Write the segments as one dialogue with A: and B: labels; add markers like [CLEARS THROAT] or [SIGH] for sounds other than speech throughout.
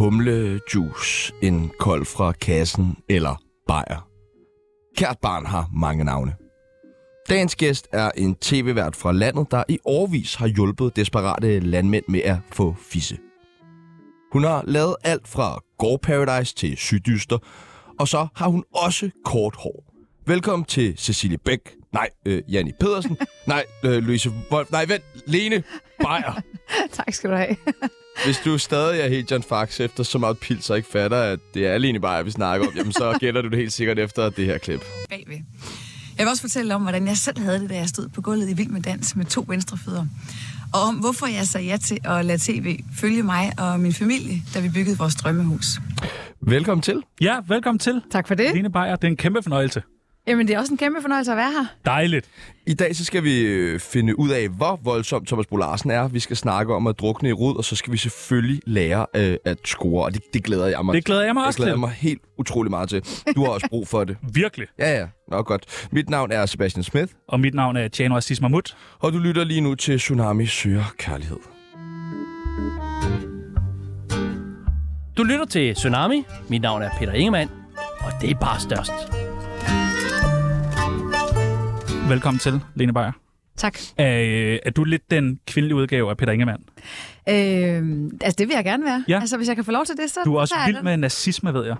A: humlejuice, en kold fra kassen eller bajer. Kært barn har mange navne. Dagens gæst er en tv-vært fra landet, der i årvis har hjulpet desperate landmænd med at få fisse. Hun har lavet alt fra Gore Paradise til Sygdyster, og så har hun også kort hår. Velkommen til Cecilie Bæk. Nej, øh, Janni Pedersen. Nej, øh, Louise Wolf. Nej, vent. Lene Beyer.
B: tak skal du have. [LAUGHS]
A: Hvis du stadig er helt John Fax efter så meget pils og ikke fatter, at det er Lene Beyer, vi snakker om, jamen
C: [LAUGHS]
A: så gætter du det helt sikkert efter det her klip.
D: bagved. Jeg vil også fortælle om, hvordan jeg selv havde det, da jeg stod på gulvet i Vild med Dans med to venstrefødder. Og om, hvorfor jeg sagde ja til at lade tv følge mig og min familie, da vi byggede vores drømmehus.
A: Velkommen til.
C: Ja, velkommen til.
B: Tak for det.
C: Lene Beyer, det er en kæmpe fornøjelse.
B: Jamen, det er også en kæmpe fornøjelse at være her.
C: Dejligt.
A: I dag så skal vi øh, finde ud af, hvor voldsom Thomas Bo Larsen er. Vi skal snakke om at drukne i rod, og så skal vi selvfølgelig lære øh, at score. Og det, det glæder jeg mig
C: Det glæder jeg mig
A: jeg
C: også
A: glæder
C: til.
A: mig helt utrolig meget til. Du har også brug for det.
C: Virkelig.
A: Ja, ja. Nå, godt. Mit navn er Sebastian Smith,
C: Og mit navn er Tjano Assis Mahmud.
A: og du lytter lige nu til Tsunami Søger Kærlighed.
E: Du lytter til Tsunami. Mit navn er Peter Ingemann, og det er bare størst.
C: Velkommen til, Lene Beyer.
B: Tak.
C: Er, er du lidt den kvindelige udgave af Peter Ingemann?
B: Øh, altså, det vil jeg gerne være.
C: Ja.
B: Altså, hvis jeg kan få lov til det, så...
C: Du er også
B: så
C: vild
B: det.
C: med nazisme, ved jeg.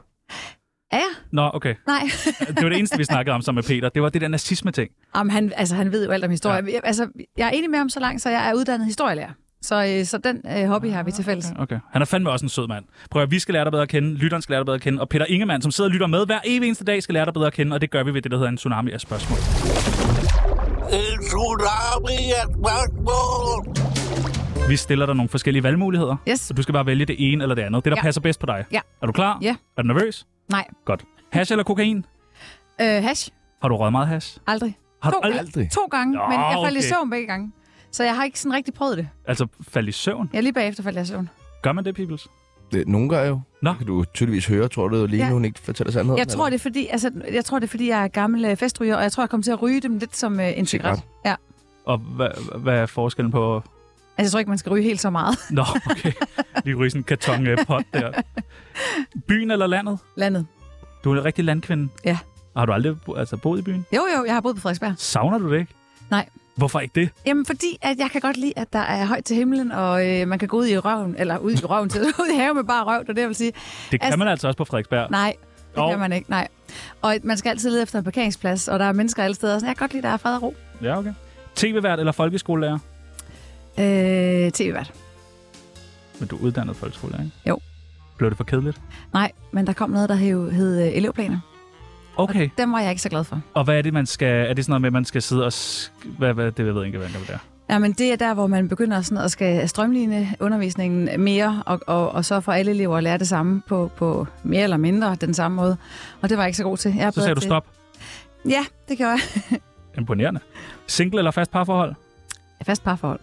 B: Er jeg?
C: Nå, okay.
B: Nej. [LAUGHS]
C: Det var det eneste, vi snakkede om sammen med Peter. Det var det der nazisme-ting.
B: Jamen, han, altså, han ved jo alt om historie. Ja. Altså, jeg er enig med ham så langt, så jeg er uddannet historielærer. Så, øh, så den øh, hobby har vi til fælles.
C: Okay. Han er fandme også en sød mand. Prøv at vi skal lære dig bedre at kende, lytteren skal lære dig bedre at kende, og Peter Ingemann, som sidder og lytter med hver evig eneste dag, skal lære dig bedre at kende, og det gør vi ved det, der hedder en tsunami af spørgsmål.
F: En tsunami er et spørgsmål.
C: Vi stiller dig nogle forskellige valgmuligheder,
B: Yes.
C: og du skal bare vælge det ene eller det andet. Det, der
B: Ja.
C: ja. passer bedst på dig.
B: Ja.
C: Er du klar?
B: Ja.
C: Er du nervøs?
B: Nej.
C: Godt. Hash eller kokain?
B: Øh, hash?
C: Har du røget meget hash?
B: Aldrig.
C: Har du
B: To. To gange,
C: Nå,
B: men jeg faldt i
C: okay.
B: søvn begge gange. Så jeg har ikke sådan rigtig prøvet det.
C: Altså, faldt i søvn?
B: Jeg lige bagefter faldt jeg i søvn.
C: Gør man det, peoples?
A: Det, nogen gør jo.
C: Nå.
A: Det Kan du tydeligvis høre, tror du, lige
B: Ja.
A: ja. hun ikke fortæller sandheden?
B: Jeg tror, det er fordi, altså, jeg tror, det er, fordi jeg er gammel øh, festryger, og jeg tror, jeg kommer til at ryge dem lidt som øh, en cigaret. Ja.
C: Og hvad, hvad er forskellen på...
B: Altså, jeg tror ikke, man skal ryge helt så meget. [LAUGHS]
C: Nå, okay. Lige ryge sådan en karton øh, pot der. Byen eller landet?
B: Landet.
C: Du er en rigtig landkvinde.
B: Ja.
C: Og har du aldrig bo- altså, boet i byen?
B: Jo, jo, jeg har boet på Frederiksberg.
C: Savner du det ikke?
B: Nej.
C: Hvorfor ikke det?
B: Jamen, fordi at jeg kan godt lide, at der er højt til himlen, og øh, man kan gå ud i røven, eller ud i røven til, [LAUGHS] ud i haven med bare røv, det er det, jeg vil sige.
C: Det kan
B: Altså-
C: altså, man altså også på Frederiksberg.
B: Nej, det
C: Jo.
B: kan man ikke, nej. Og man skal altid lede efter en parkeringsplads, og der er mennesker alle steder, så jeg kan godt lide, at der er fred og ro.
C: Ja, okay. TV-vært eller folkeskolelærer?
B: Øh, TV-vært.
C: Men du er uddannet folkeskolelærer, ikke?
B: Jo.
C: Blev det for kedeligt?
B: Nej, men der kom noget, der hed, hed øh, elevplaner.
C: Okay.
B: Dem var jeg ikke så glad for.
C: Og hvad er det, man skal... Er det sådan noget med, at man skal sidde og... Sk- hvad, hvad, det ved jeg ikke, hvad det er.
B: Jamen, det er der, hvor man begynder sådan at skal strømligne undervisningen mere, og, og, og så for alle elever at lære det samme på, på mere eller mindre den samme måde. Og det var jeg ikke så god til. Jeg er
C: Så
B: bedre
C: sagde du
B: til-
C: stop.
B: Ja, det gjorde jeg.
C: Imponerende. Single eller fast parforhold?
B: Jeg er fast parforhold.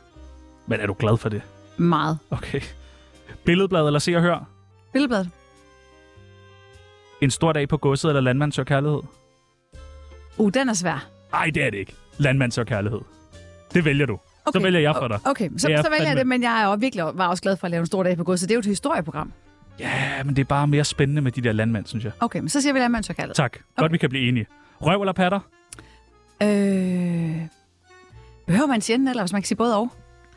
C: Men er du glad for det?
B: Meget.
C: Okay. Billedblad eller se og hør?
B: Billedbladet.
C: En stor dag på godset eller landmand søger kærlighed?
B: Uh, den er svær.
C: Nej, det er det ikke. Landmand søger kærlighed. Det vælger du. Okay. Så
B: Okay.
C: vælger jeg for dig.
B: Okay, så,
C: Det er
B: så vælger jeg
C: fandme-
B: det, men jeg er jo virkelig var også glad for at lave en stor dag på godset. Det er jo et historieprogram.
C: Ja, men det er bare mere spændende med de der landmænd, synes jeg.
B: Okay, men så siger vi landmand så kaldet.
C: Tak. Godt, vi kan blive enige. Røv eller patter?
B: Øh, behøver man sjældent, eller hvis man kan sige både og?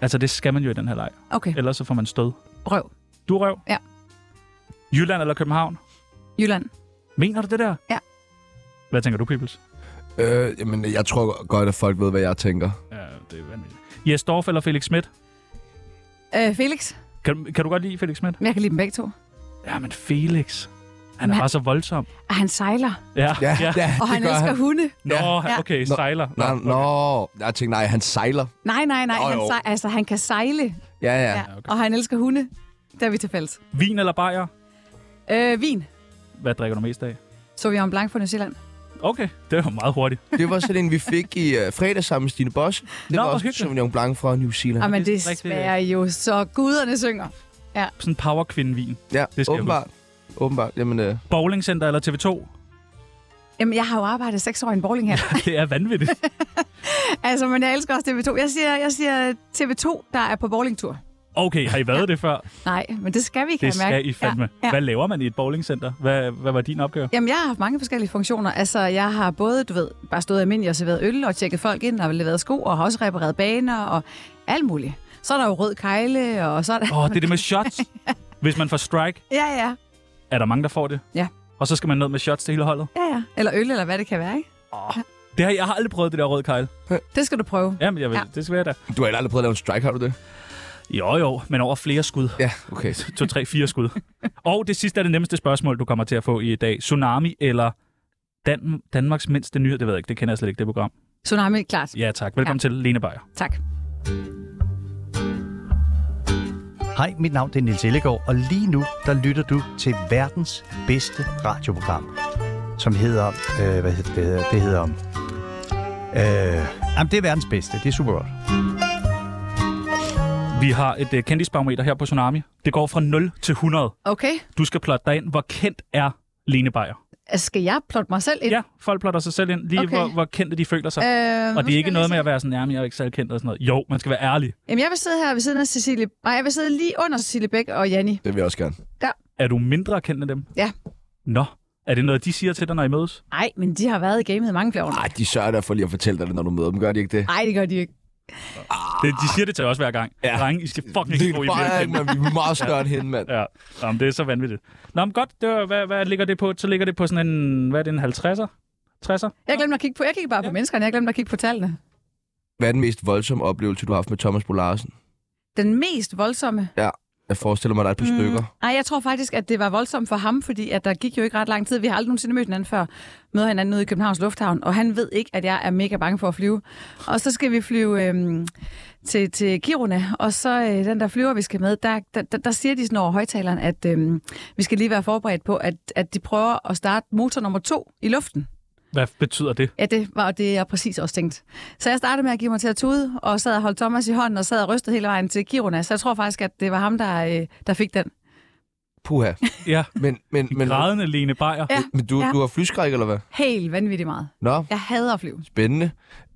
C: Altså, det skal man jo i den her leg.
B: Okay,
C: Ellers så får man stød.
B: røv.
C: Du er røv?
B: Ja.
C: Jylland eller København?
B: Jylland.
C: Mener du det der?
B: Ja.
C: Hvad tænker du, Peoples?
A: Øh, jamen, jeg tror godt, at folk ved, hvad jeg tænker.
C: Ja, det er vanvittigt. Jes Dorf eller Felix Schmidt?
B: Øh, Felix.
C: Kan, kan du godt lide Felix Schmidt?
B: Men Jeg kan lide dem begge to.
C: Ja, men Felix. Han er
B: Men-
C: bare så voldsom.
B: Og Ah, han sejler,
C: Ja,
B: og han elsker hunde.
C: Nå,
B: Ja.
C: han, okay,
A: Nå,
C: sejler.
A: Nå,
C: okay.
A: nå, jeg tænkte, nej, han sejler.
B: Nej, nej, nej.
A: Nå,
B: han,
A: jo.
B: sej, altså, han kan sejle, ja,
A: Ja, ja. ja.
B: ja, okay. og han elsker hunde. Der er vi til fælles.
C: Vin eller bajer?
B: Øh, vin.
C: Hvad drikker du mest af?
B: Sauvignon Blanc fra New Zealand.
C: Okay, det var meget hurtigt.
A: Det var sådan en, vi fik i uh, fredag sammen med Stine Bosse. Det
C: Nå,
A: var
C: hvor
A: også
C: hyggeligt.
A: Sauvignon Blanc fra New Zealand.
B: Jamen,
C: det er
B: det
C: rigtig-
B: smager jo så guderne synger.
C: Sådan en powerkvinde-vin.
A: ja,
C: det skal jeg
A: åbenbart. Åbenbart. Jamen, øh,
C: Bowlingcenter eller TV2?
B: Jamen, jeg har jo arbejdet seks år i en bowling her.
C: [LAUGHS] Det er vanvittigt.
B: altså, men jeg elsker også TV2. Jeg siger, jeg siger TV2, der er på bowlingtur.
C: Okay, har I været det før?
B: Nej, men det skal vi, kan
C: Det
B: jeg mærke.
C: skal I fandme.
B: Ja, ja.
C: Hvad laver man i et bowlingcenter? Hvad, hvad var din opgave?
B: Jamen, jeg har haft mange forskellige funktioner. Altså, jeg har både, du ved, bare stået almindelig og serveret øl og tjekket folk ind og leveret sko og har også repareret baner og alt muligt. Så er der jo rød kejle, og så er der...
C: Åh, oh, det er det med
B: [LAUGHS]
C: shots. Hvis man får strike,
B: Ja, ja,
C: er der mange, der får det.
B: Ja.
C: Og så skal man ned med shots til hele holdet.
B: ja, ja. Eller øl, eller hvad det kan være, ikke?
C: Det har, jeg har aldrig prøvet det der røde kejl.
B: Det skal du prøve.
C: Jamen, jeg vil, ja.
B: Ja.
C: det skal være der.
A: Du har heller aldrig prøvet at lave en strike, har du det?
C: Jo, jo, men over flere skud.
A: Ja, okay.
C: To, tre, fire
B: [LAUGHS]
C: skud. Og det sidste er det nemmeste spørgsmål, du kommer til at få i dag. Tsunami eller Dan- Danmarks mindste nyhed? Det ved jeg ikke, det kender jeg slet ikke, det program.
B: Tsunami, klart.
C: Ja tak, velkommen ja. til Lene Beyer.
B: Tak.
G: Hej, mit navn det er Nils Ellegaard, og lige nu der lytter du til verdens bedste radioprogram, som hedder... Øh, hvad hedder det? Det hedder... Øh, jamen, det er verdens bedste. Det er super godt.
C: Vi har et uh, kendisbarometer her på Tsunami. Det går fra 0 til 100.
B: Okay,
C: Du skal plotte dig ind. Hvor kendt er Lene Beyer?
B: altså, skal jeg plotte mig selv ind?
C: Ja, folk plotter sig selv ind, lige okay.
B: Okay.
C: hvor, hvor kendte de føler sig.
B: Øh,
C: og
B: nu
C: det er
B: skal
C: ikke
B: jeg lige
C: noget med
B: se.
C: at være sådan, nærmere jeg er ikke særlig kendt eller sådan noget. Jo, man skal være ærlig.
B: Jamen, jeg vil sidde her ved siden af Cecilie... Nej, jeg vil sidde lige under Cecilie Bæk og Janni.
A: Det vil jeg også gerne.
C: Er du mindre kendt end dem?
B: Ja.
C: Nå, er det noget, de siger til dig, når I mødes?
B: Nej, men de har været i gamet mange flere år.
A: Nej, de sørger da for lige at fortælle dig det, når du møder dem. Gør de ikke det?
B: Nej, det gør de ikke.
C: Det, de siger det til os hver gang. Ja.
A: Ja.
C: Drenge, I skal fucking ikke
A: Lene
C: tro, I bliver
A: Beyer, ikke,
C: kendt.
A: mand. Vi er meget større end hende, mand.
C: Ja, Jamen, det er så vanvittigt. Nå, men godt, det var, hvad, hvad ligger det på? Så ligger det på sådan en, hvad er det, en 50'er? 60'er?
B: Jeg glemte at kigge på, jeg kigger bare på menneskerne, jeg glemte at kigge på tallene.
A: Hvad er den mest voldsomme oplevelse, du har haft med Thomas Bo Larsen?
B: Den mest voldsomme...
A: Jeg forestiller mig, der er et par mm. stykker.
B: Nej, jeg tror faktisk, at det var voldsomt for ham, fordi at der gik jo ikke ret lang tid. Vi har aldrig nogensinde mødt hinanden før. Møder hinanden ude i Københavns Lufthavn, og han ved ikke, at jeg er mega bange for at flyve. Og så skal vi flyve øhm, til, til Kiruna, og så øh, den der flyver, vi skal med, der, der, der, der siger de sådan over højtaleren, at øhm, vi skal lige være forberedt på, at, at de prøver at starte motor nummer to i luften.
C: Hvad betyder det?
B: Ja, det var det, jeg præcis også tænkte. Så jeg startede med at give mig til at tude, og sad og holdt Thomas i hånden, og sad og rystede hele vejen til Kiruna. Så jeg tror faktisk, at det var ham, der, øh, der fik den.
A: Puha.
C: Ja,
A: Men, men, men,
C: grædende Lene Beyer.
B: Ja.
A: men du,
B: Ja.
A: du har flyskræk, eller hvad?
B: Helt vanvittigt meget.
A: Nå,
B: Jeg hader at flyve.
A: spændende.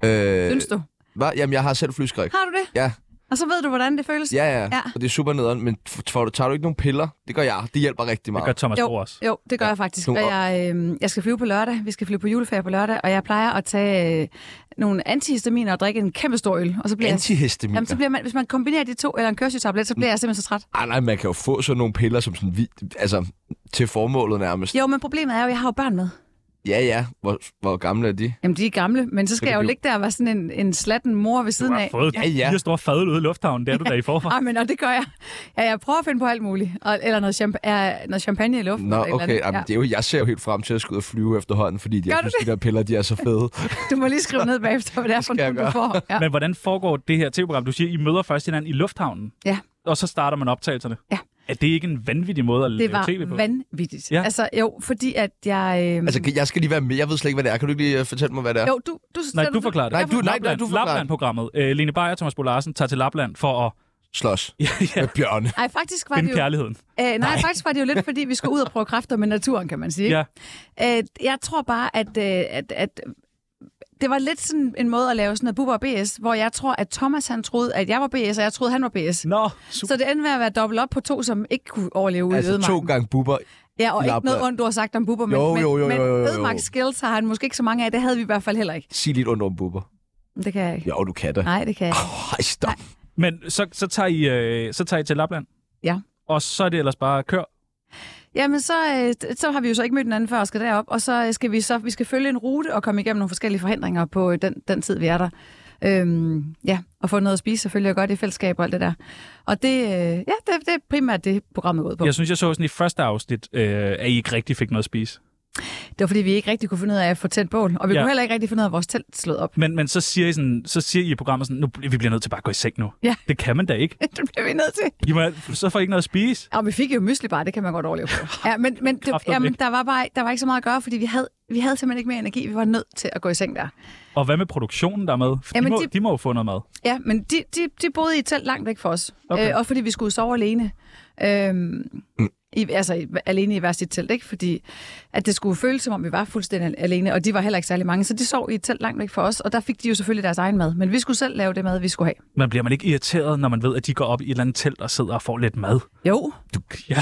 A: Øh,
B: Synes du?
A: Hvad? Jamen, jeg har selv flyskræk.
B: Har du det?
A: Ja.
B: Og så ved du, hvordan det føles?
A: Ja, ja,
B: Ja.
A: ja. Og det er super nederen, men f- får du, tager du ikke nogen piller? Det gør jeg. Det hjælper rigtig
C: Det
A: meget.
C: gør Thomas
B: Jo.
C: Bo også.
B: Jo, det gør jeg faktisk.
A: Nu-
B: Og jeg, øh, jeg skal flyve på lørdag. Vi skal flyve på juleferie på lørdag. Og jeg plejer at tage øh, nogle antihistaminer og drikke en kæmpe stor øl. Og så bliver jeg,
A: Antihistaminer.
B: jamen, så bliver man, hvis man kombinerer de to, eller en kørselstablet, så bliver jeg simpelthen så træt.
A: Ej, nej, man kan jo få sådan nogle piller, som sådan, vi, altså, til formålet nærmest.
B: Jo, men problemet er jo, at jeg har jo børn med.
A: Ja, ja. Hvor, hvor gamle er de?
B: Jamen, de er gamle, men så skal
A: kan
B: jeg jo
A: blive-
B: ligge der og være sådan en, en slatten mor ved
C: Du
B: siden
C: har
B: af.
C: fået
A: Ja, ja.
C: fire store fadøl ude i lufthavnen. Det er du da i
B: [LAUGHS]
C: forvejen.
B: Ej, men og det gør jeg. Ja, jeg prøver at finde på alt muligt. Og, eller noget, champ- ja, noget champagne i luften.
A: Nå,
B: eller et eller
A: okay.
B: andet.
A: Jamen, det er jo, jeg ser jo helt frem til at skulle ud og flyve efterhånden, fordi de, jeg
B: Gør du
A: synes, de der piller, de er så
B: [LAUGHS]
A: fede.
B: Du må lige skrive ned bagefter, hvad
A: [LAUGHS]
B: det er for
A: skal jeg
B: nogen, du
A: gøre.
B: får. Ja.
C: Men hvordan foregår det her tv-program? Du siger, I møder først hinanden i lufthavnen.
B: Ja.
C: Og så starter man optagelserne.
B: Ja.
C: Er det ikke en vanvittig måde at
B: Det
C: lave
B: var
C: Øh, tv på?
B: vanvittigt.
C: Ja.
B: Ja. Altså, jo, fordi at jeg... Øh...
A: altså, kan- jeg skal lige være med. Jeg ved slet ikke, hvad det er. Kan du ikke lige øh, fortælle mig, hvad det er?
B: jo, du, du
C: Nej, du forklarer det.
A: Nej, du- nej, nej, du forklarer det.
C: Lapland-programmet. Øh, Lene Beyer og Thomas Bo Larsen tager til Lapland for at [LAUGHS]
A: Slås
C: ja, ja,
A: med bjørne.
B: Ej, faktisk var det
C: finde
B: jo,
C: kærligheden.
B: øh, nej, nej, faktisk var det jo lidt, fordi vi skulle ud og prøve kræfter med naturen, kan man sige. ikke?
C: Ja.
B: Øh, jeg tror bare, at, øh, at, at det var lidt sådan en måde at lave sådan noget bubber og BS, hvor jeg tror, at Thomas han troede, at jeg var BS, og jeg troede, han var BS.
A: Mm,
C: Nå,
B: Så det endte med at være dobbelt op på to, som ikke kunne overleve ude i
A: Altså, to
B: ødemarken.
A: gange buber.
B: Ja, og ikke
A: Lapland.
B: noget ondt, du har sagt om bubber, men,
A: Jo, jo, jo,
B: men,
A: jo, jo, jo.
B: men ødemarks skills har han måske ikke så mange af. Det havde vi i hvert fald heller ikke.
A: Sig lidt ondt om buber.
B: Det kan jeg ikke.
A: Jo, du kan da.
B: Nej, det kan jeg ikke.
A: Ej, stop.
C: men så, så, tager I, øh, så tager I til Lapland.
B: Ja.
C: Og så er det ellers bare kør.
B: Jamen, så, øh, så har vi jo så ikke mødt hinanden før og skal derop, og så øh, skal vi så vi skal følge en rute og komme igennem nogle forskellige forhindringer på øh, den, den tid, vi er der. Øhm, ja, og få noget at spise selvfølgelig og godt i fællesskab og alt det der. Og det, øh, ja, det, det er primært det, programmet går ud på.
C: Jeg synes, jeg så sådan i første afsnit, øh, at I ikke rigtig fik noget at spise.
B: Det var fordi, vi ikke rigtig kunne finde ud af at få tændt bål, og vi
C: Ja.
B: ja. kunne heller ikke rigtig finde ud af, at vores telt slået op. [LAUGHS]
C: Men, men så, siger I sådan, så siger I i programmet sådan, nu, bl- vi bliver nødt til bare at gå i seng nu.
B: Ja.
C: Det kan man da ikke.
B: det blev vi nødt til.
C: I må, så får I ikke noget at spise.
B: Og vi fik jo mysli bare, det kan man godt overleve på. [LAUGHS] Ja, men, men det,
C: Kraftedeme
B: jamen,
C: ikke.
B: der, var bare, der var ikke så meget at gøre, fordi vi havde, vi havde simpelthen ikke mere energi. Vi var nødt til at gå i seng der.
C: Og hvad med produktionen der er med? For
B: Jamen,
C: de, må, de...
B: de-
C: de må jo få noget mad.
B: Ja, men de, de, de boede i et telt langt væk fra os.
C: Okay.
B: Okay. Øh, også fordi vi skulle sove alene. Øhm, I, altså i- alene i hver sit telt, ikke? Fordi at det skulle føles, som om vi var fuldstændig alene, og de var heller ikke særlig mange, så de sov i et telt langt væk fra os, og der fik de jo selvfølgelig deres egen mad, men vi skulle selv lave det mad, vi skulle have.
C: Men bliver man ikke irriteret, når man ved, at de går op i et eller andet telt og sidder og får lidt mad?
B: Jo,
C: Du, ja,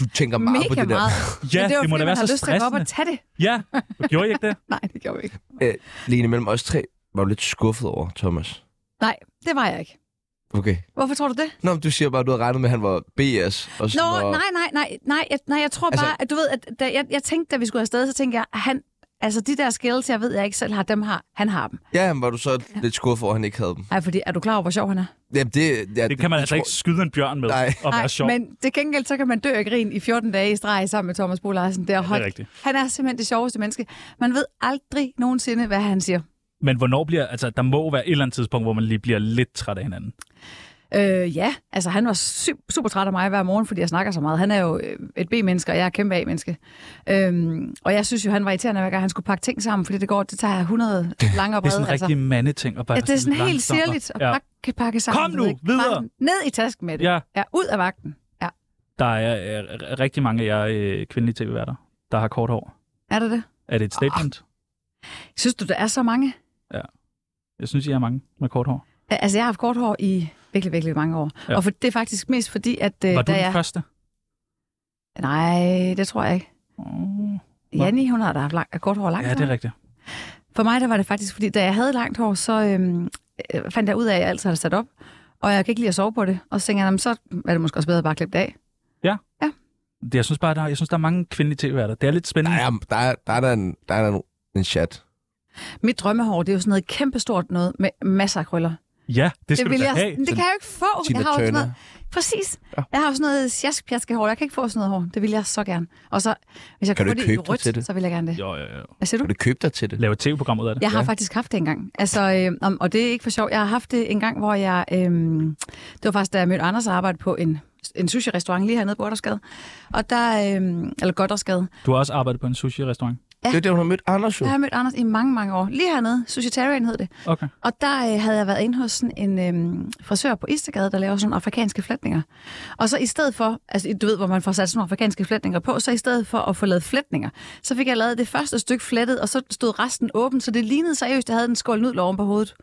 A: Du tænker meget på
B: mega
A: det der.
B: meget.
C: [LAUGHS] ja
B: men det, var,
C: det må
B: fordi,
C: da
B: man
C: være
B: har
C: så
B: lyst til at gå op
C: stressende.
B: og tage det.
C: Ja, gjorde I ikke det?
B: Nej, det gjorde vi ikke.
A: Lene, mellem os tre var du lidt skuffet over Thomas.
B: Nej, det var jeg ikke.
A: Okay.
B: Hvorfor tror du det?
A: Nå, men du siger bare, at du havde regnet med, at han var BS. Og
B: Nå,
A: sådan, og...
B: nej, nej, nej, nej, jeg, nej, jeg tror
A: Altså-
B: altså, bare, at du ved, at da jeg, jeg tænkte, da vi skulle afsted, så tænkte jeg, at han, altså de der skills, jeg ved, jeg ikke selv har, dem har, han har dem.
A: Ja, men var du så lidt skuffet over, at han ikke havde dem?
B: Nej, fordi er du klar over, hvor sjov han er?
A: Jamen, det, ja,
C: Det kan man
A: jeg
C: altså
A: tror-
C: ikke skyde en bjørn med
A: Nej.
C: og være sjov.
B: men til gengæld, så kan man dø af grin i 14 dage i streg sammen med Thomas Bo Larsen. Der,
C: det er
B: hold-
C: rigtigt.
B: Han er simpelthen det sjoveste menneske. Man ved aldrig nogensinde, hvad han siger.
C: Men hvornår bliver... Altså, der må være et eller andet tidspunkt, hvor man lige bliver lidt træt af hinanden.
B: Øh, ja, altså han var su- super træt af mig hver morgen, fordi jeg snakker så meget. Han er jo øh, et B-menneske, og jeg er kæmpe A-menneske. Øhm, og jeg synes jo, han var irriterende, hver gang han skulle pakke ting sammen, fordi det går, det tager 100 lange og
C: [LAUGHS] Det er
B: brede. altså.
C: sådan en rigtig mandeting. Og bare
B: ja, det er sådan helt
C: langsomt og-
B: sirligt at
C: Ja.
B: pakke, pakke sammen.
C: Kom
B: du
C: nu,
B: ved ikke.
C: videre.
B: Bare Ned i tasken med det.
C: ja,
B: ja ud af vagten. Ja,
C: der er øh, rigtig mange af jer øh, kvindelige tv-værter, der har kort hår.
B: er det det?
C: Er det
B: Ah.
C: et statement?
B: Synes du, der er så mange?
C: Jeg synes, I er mange med kort hår.
B: Altså, jeg har haft kort hår i virkelig, virkelig mange år.
C: Ja.
B: Ja. Og for, det er faktisk mest fordi, at... Øh,
C: Var du
B: da
C: den
B: jeg...
C: første?
B: Nej, det tror jeg ikke. Mm.
C: Oh, Nå.
B: Janni, hun har da haft lang, kort hår langt
C: ja, det er rigtigt.
B: For mig der var det faktisk, fordi da jeg havde langt hår, så øhm, øh, fandt jeg ud af, at jeg altid havde sat op. Og jeg kan ikke lide at sove på det. Og så tænkte jeg, "Nå, men så er det måske også bedre at bare klippe det af.
C: Det, jeg synes bare, der, jeg synes, der er mange kvindelige tv-værter. Det er lidt
A: Der
C: spændende.
A: er, der er, der er, der en, der er en, en chat.
B: Mit drømmehår, det er jo sådan noget kæmpestort noget med masser af krøller.
C: Ja, det skal
B: det,
C: du da
B: jeg,
C: have.
B: det kan jeg jo ikke få.
A: Tina
B: jeg har jo sådan
A: Turner.
B: noget, præcis. Ja. Jeg har jo sådan noget sjask hår. Jeg kan ikke få sådan noget hår. Det vil jeg så gerne. Og så, hvis jeg
A: Kan
B: kan,
A: du
B: få
A: ikke
B: det i
A: købe dig til det?
B: rødt, så vil jeg gerne det.
C: Jo, jo, jo.
B: Hvad siger du?
A: Kan du købe dig til det?
C: Lave et tv-program ud af det.
B: Jeg har ja. faktisk haft det engang. Altså, øh, om- og det er ikke for sjov. Jeg har haft det en gang, hvor jeg... Øh, det var faktisk, da jeg mødte Anders og arbejdede på en, en sushi-restaurant lige hernede på Goddersgade. Og der... Øh, eller Goddersgade.
C: Du har også arbejdet på en sushi-restaurant.
A: Det er jo det, hun har mødt Anders jo.
B: Der har jeg mødt Anders i mange, mange år. Lige hernede. Sushitarian hed det.
C: Okay.
B: Og der øh, havde jeg været inde hos sådan en øh, frisør på Istergade, der laver sådan nogle afrikanske flætninger. Og så i stedet for, altså du ved, hvor man får sat sådan nogle afrikanske flætninger på, så i stedet for at få lavet flætninger, så fik jeg lavet det første stykke flettet, og så stod resten åben, så det lignede seriøst, at jeg havde en skål nudler oven på hovedet.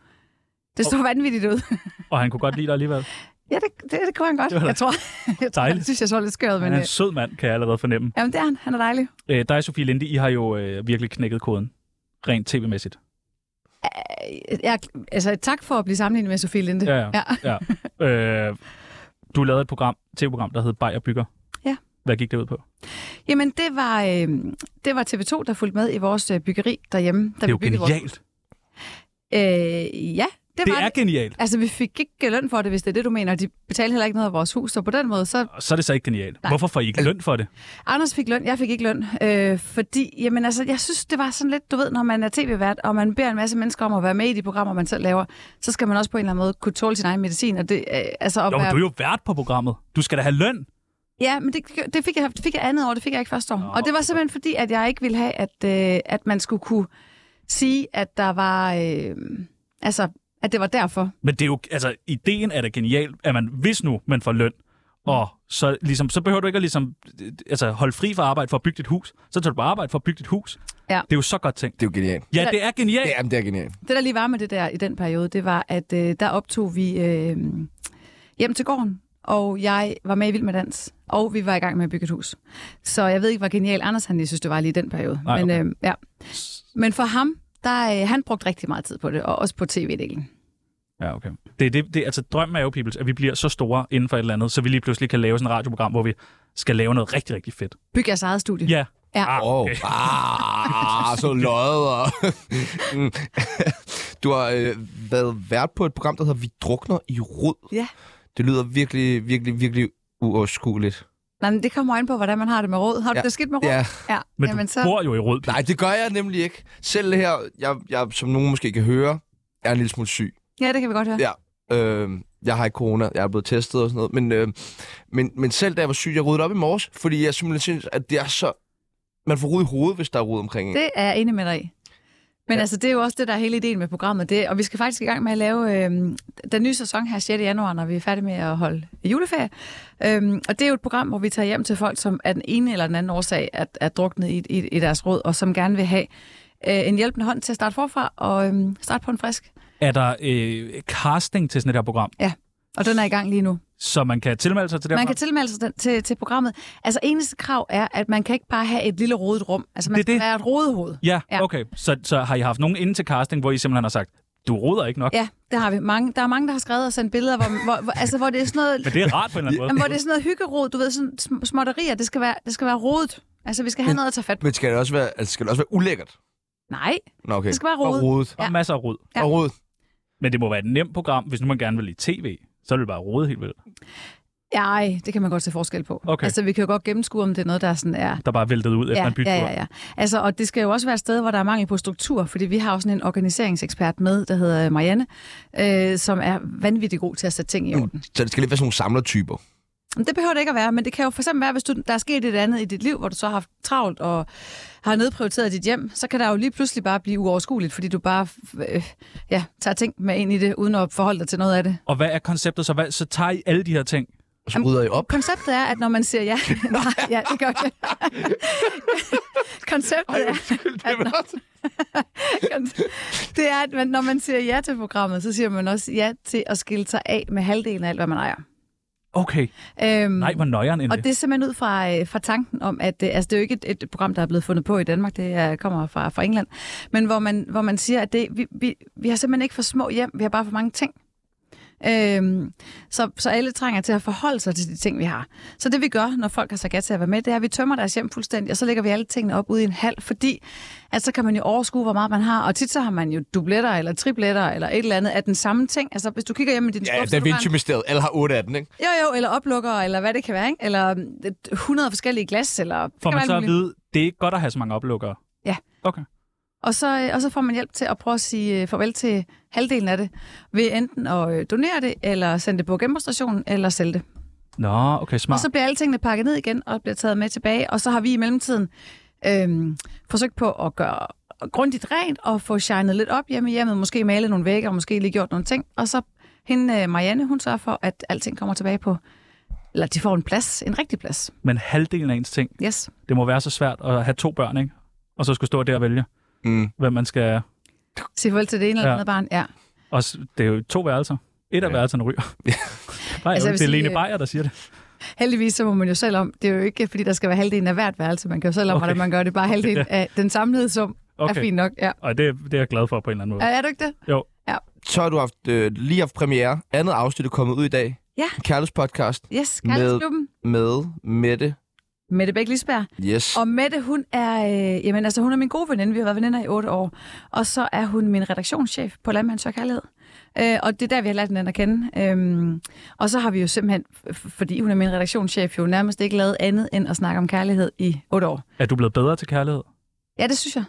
B: Det stod vanvittigt ud. [LAUGHS]
C: Og han kunne godt lide dig alligevel.
B: ja, det, det, det kunne han godt.
C: Det var da
B: Jeg tror, jeg tror,
C: dejligt.
B: han synes, jeg så lidt skørt,
C: Han
B: men...
C: er
B: Øh,
C: en sød mand, kan jeg allerede fornemme.
B: jamen, det er han. Han er dejlig.
C: Øh, dig, Sofie Linde, I har jo øh, virkelig knækket koden. Rent tv-mæssigt.
B: Øh, Jeg, altså, tak for at blive sammenlignet med Sofie Linde.
C: Ja, ja.
B: ja.
C: ja. Øh, du lavede et program, tv-program, der hed Bayer Bygger.
B: Ja.
C: Hvad gik det ud på?
B: Jamen, det var, øh, det var TV2, der fulgte med i vores øh, byggeri derhjemme. Da
C: det er jo
B: vi byggede vores-
C: genialt.
B: Øh, ja, det,
C: Det
B: var
C: er
B: det.
C: genialt.
B: Altså, vi fik ikke løn for det, hvis det er det, du mener. De betalte heller ikke noget af vores hus, så på den måde, så...
C: Og Så er det så ikke genialt.
B: Nej. Altså-
C: Hvorfor får I ikke løn for det?
B: Anders fik løn, jeg fik ikke løn, øh, fordi, jamen altså, jeg synes, det var sådan lidt, du ved, når man er tv-vært, og man beder en masse mennesker om at være med i de programmer, man selv laver, så skal man også på en eller anden måde kunne tåle sin egen medicin, og det, øh, altså, at
C: Jo, men
B: være...
C: du er jo vært på programmet. Du skal da have løn.
B: Ja, men det, det, fik jeg, det fik jeg andet år, det fik jeg ikke første år.
C: Nå.
B: Og det var simpelthen fordi, at jeg ikke ville have, at, øh, at man skulle kunne sige, at der var, øh, altså, at det var derfor.
C: Men det er jo, altså, ideen er da genial, at man, hvis nu man får løn,
B: Mm.
C: og så, ligesom, så behøver du ikke at ligesom, øh, altså, holde fri fra arbejde for at bygge dit hus. Så tager du på arbejde for at bygge dit hus.
B: Ja.
C: Det er jo så godt tænkt.
A: Det er jo genialt.
C: Ja, det er genialt.
A: Ja, men det er genialt.
B: Det, der lige var med det der i den periode, det var, at øh, der optog vi øh, hjem til gården, og jeg var med i Vild med Dans, og vi var i gang med at bygge et hus. Så jeg ved ikke, hvor genial Anders han lige synes, det var lige i den periode.
C: Nej,
B: Men,
C: okay.
B: øh, ja. Men for ham, der, øh, han brugte rigtig meget tid på det, og også på tv-delen.
C: Ja, okay. Det, er det, det, altså, drømmen er jo, Peoples, at vi bliver så store inden for et eller andet, så vi lige pludselig kan lave sådan et radioprogram, hvor vi skal lave noget rigtig, rigtig fedt.
B: Bygge jeres eget studie.
C: Ja.
B: Ja.
C: Ah,
A: Åh,
C: okay.
A: ah, så løjet. Og... Mm. du har øh, været vært på et program, der hedder Vi drukner i rod.
B: Ja.
A: Det lyder virkelig, virkelig, virkelig uoverskueligt.
B: Nej, men det kommer an på, hvordan man har det med råd. Har du
A: Ja.
B: ja. det skidt med råd?
A: Ja,
B: ja.
C: Men
B: Jamen,
C: du
B: så...
C: bor jo i rød.
A: nej, det gør jeg nemlig ikke. Selv her, jeg, jeg, som nogen måske kan høre, er en lille smule syg.
B: Ja, det kan vi godt høre.
A: Ja. Øh, jeg har ikke corona, jeg er blevet testet og sådan noget. Men, øh, men, men selv da jeg var syg, jeg ryddede op i morges, fordi
C: Mm.
A: jeg simpelthen synes, at det er så... Man får rod i hovedet, hvis der er rod omkring en.
B: Det er jeg enig med dig i. Men altså, det er jo også det, der er hele ideen med programmet. Det, og vi skal faktisk i gang med at lave øhm, den nye sæson her 6. januar, når vi er færdige med at holde juleferie. Øhm, og det er jo et program, hvor vi tager hjem til folk, som af den ene eller den anden årsag er, er druknet i, i, i deres råd, og som gerne vil have øh, en hjælpende hånd til at starte forfra og øhm, starte på en frisk.
C: Er der øh, casting til sådan et her program,
B: Og den er i gang lige nu.
C: så man kan tilmelde sig til det?
B: Man
C: her
B: kan tilmelde sig den, til, til programmet. Altså, eneste krav er, at man kan ikke bare have et lille rodet rum. Altså, man
C: Det er
B: det, skal
C: det.
B: være et rodet hoved.
C: program? Ja,
B: Ja.
C: okay. Så, så har I haft nogen inden til casting, hvor I simpelthen har sagt, du roder ikke nok?
B: Ja, det har vi. Mange, der er mange, der har skrevet og sendt billeder, hvor, hvor, hvor, altså, hvor det er sådan noget...
C: Men det er rart på en eller anden
B: Jamen, hvor
C: måde.
B: det er sådan noget hyggerod, du ved, sådan sm- småtterier, det skal være, det skal være rodet. Altså, vi skal have noget at tage fat på.
A: Men skal det også være, altså, skal det også være ulækkert?
B: Nej,
A: Nå, okay.
B: Det skal være
A: Bare
B: rodet.
A: rodet.
C: Der er
B: Ja.
C: masser af rod.
B: Ja.
A: Og rodet.
C: Men det må være et nemt program, hvis nu man gerne vil i tv. Så er det bare rode helt vildt.
B: nej, det kan man godt se forskel på.
C: Okay.
B: Altså, vi kan jo godt gennemskue, om det er noget, der sådan er...
C: Der bare er væltet ud efter
B: Ja,
C: en bytur.
B: ja, ja, ja. Altså, og det skal jo også være et sted, hvor der er mangel på struktur, fordi vi har jo sådan en organiseringsekspert med, der hedder Marianne, øh, som er vanvittig god til at sætte ting i orden.
A: Så det skal lidt være sådan nogle samlertyper.
B: Men Det behøver det ikke at være, men det kan jo for eksempel være, hvis du, der er sket et andet i dit liv, hvor du så har haft travlt og har nedprioriteret dit hjem, så kan der jo lige pludselig bare blive uoverskueligt, fordi du bare øh, ja, tager ting med ind i det, uden at forholde dig til noget af det.
C: Og hvad er konceptet så? Hvad, så tager I alle de her ting?
A: Og så rydder I
B: [LAUGHS]
A: op.
B: Konceptet er, at når man siger ja, nej, ja, det gør jeg. Konceptet er, at når, [LAUGHS] det er, at man, når man siger ja til programmet, så siger man også ja til at skille sig af med halvdelen af alt, hvad man ejer.
C: Okay.
B: Øhm,
C: Nej, hvor nøjeren end
B: Og
C: det.
B: det er simpelthen ud fra, øh, fra tanken om, at øh, altså, det er jo ikke et, et program, der er blevet fundet på i Danmark, det er, kommer fra, fra England, men hvor man, hvor man siger, at det, vi, vi, vi har simpelthen ikke for små hjem, vi har bare for mange ting. Øhm, så, så alle trænger til at forholde sig til de ting, vi har. Så det vi gør, når folk har sagt ja til at være med, det er, at vi tømmer deres hjem fuldstændig, og så lægger vi alle tingene op ude i en hal, fordi at så kan man jo overskue, hvor meget man har. Og tit så har man jo dubletter eller tripletter eller et eller andet af den samme ting. Altså hvis du kigger hjem i din
A: Ja,
B: skuffe, så
A: Da
B: du har en-
A: Vinci-mysteriet. Alle har otte af den, ikke?
B: jo, jo, eller oplukker, eller hvad det kan være, ikke? Eller øh, 100 forskellige glas, eller... det
C: Får
B: kan
C: man
B: være
C: så at
B: alt muligt.
C: vide, det er ikke godt at have så mange oplukkere?
B: Ja.
C: Okay.
B: Og så, øh, og så får man hjælp til at prøve at sige øh, farvel til halvdelen af det, ved enten at øh, donere det, eller sende det på genbrugsstationen, eller sælge det.
C: Nå, okay,
B: Og
C: smart.
B: så bliver alle tingene pakket ned igen, og bliver taget med tilbage, og så har vi i mellemtiden øh, forsøgt på at gøre grundigt rent, og få shined lidt op hjemme i hjemmet, måske malet nogle vægge, og måske lige gjort nogle ting, og så hende, øh, Marianne, hun sørger for, at alting kommer tilbage på, eller de får en plads, en rigtig plads.
C: Men halvdelen af ens ting,
B: Yes.
C: det må være så svært at have to børn, ikke? Og så skulle stå der og vælge,
A: Mm.
C: hvem man skal...
B: Sige farvel til det ene eller
C: Ja.
B: andet barn, ja.
C: Og s- det er jo to værelser. Et
A: [LAUGHS]
C: af
A: Ja.
C: værelserne ryger. Bare
B: Altså,
C: altså,
B: jeg
C: det
B: vil
C: er
B: sige,
C: Lene
B: øh,
C: Beyer, der siger det.
B: Heldigvis så må man jo selv om, det er jo ikke fordi, der skal være halvdelen af hvert værelse, man kan jo selv om,
C: Okay.
B: okay. hvordan man gør det, bare halvdelen
C: ja.
B: okay, af den samlede sum okay. er
C: Okay.
B: fint nok. Ja.
C: Og det, det er jeg glad for på en eller anden måde.
B: Er, er du ikke det?
A: Så har du haft, øh, lige haft premiere. Andet afsnit er kommet ud i dag.
B: Ja.
A: En kærlighedspodcast
B: Yes,
A: Med-
B: Kærlighedsklubben.
A: med Mette.
B: Mette Bæk Lisberg.
A: Yes.
B: Og Mette, hun er, øh, jamen, altså, hun er min gode veninde. Vi har været veninder i otte år. Og så er hun min redaktionschef på Landmands og Kærlighed. Øh, og det er der, vi har lært hinanden at kende. Øhm, og så har vi jo simpelthen, f- f- fordi hun er min redaktionschef, jo nærmest ikke lavet andet end at snakke om kærlighed i otte år.
C: Er du blevet bedre til kærlighed?
B: Ja, det synes jeg.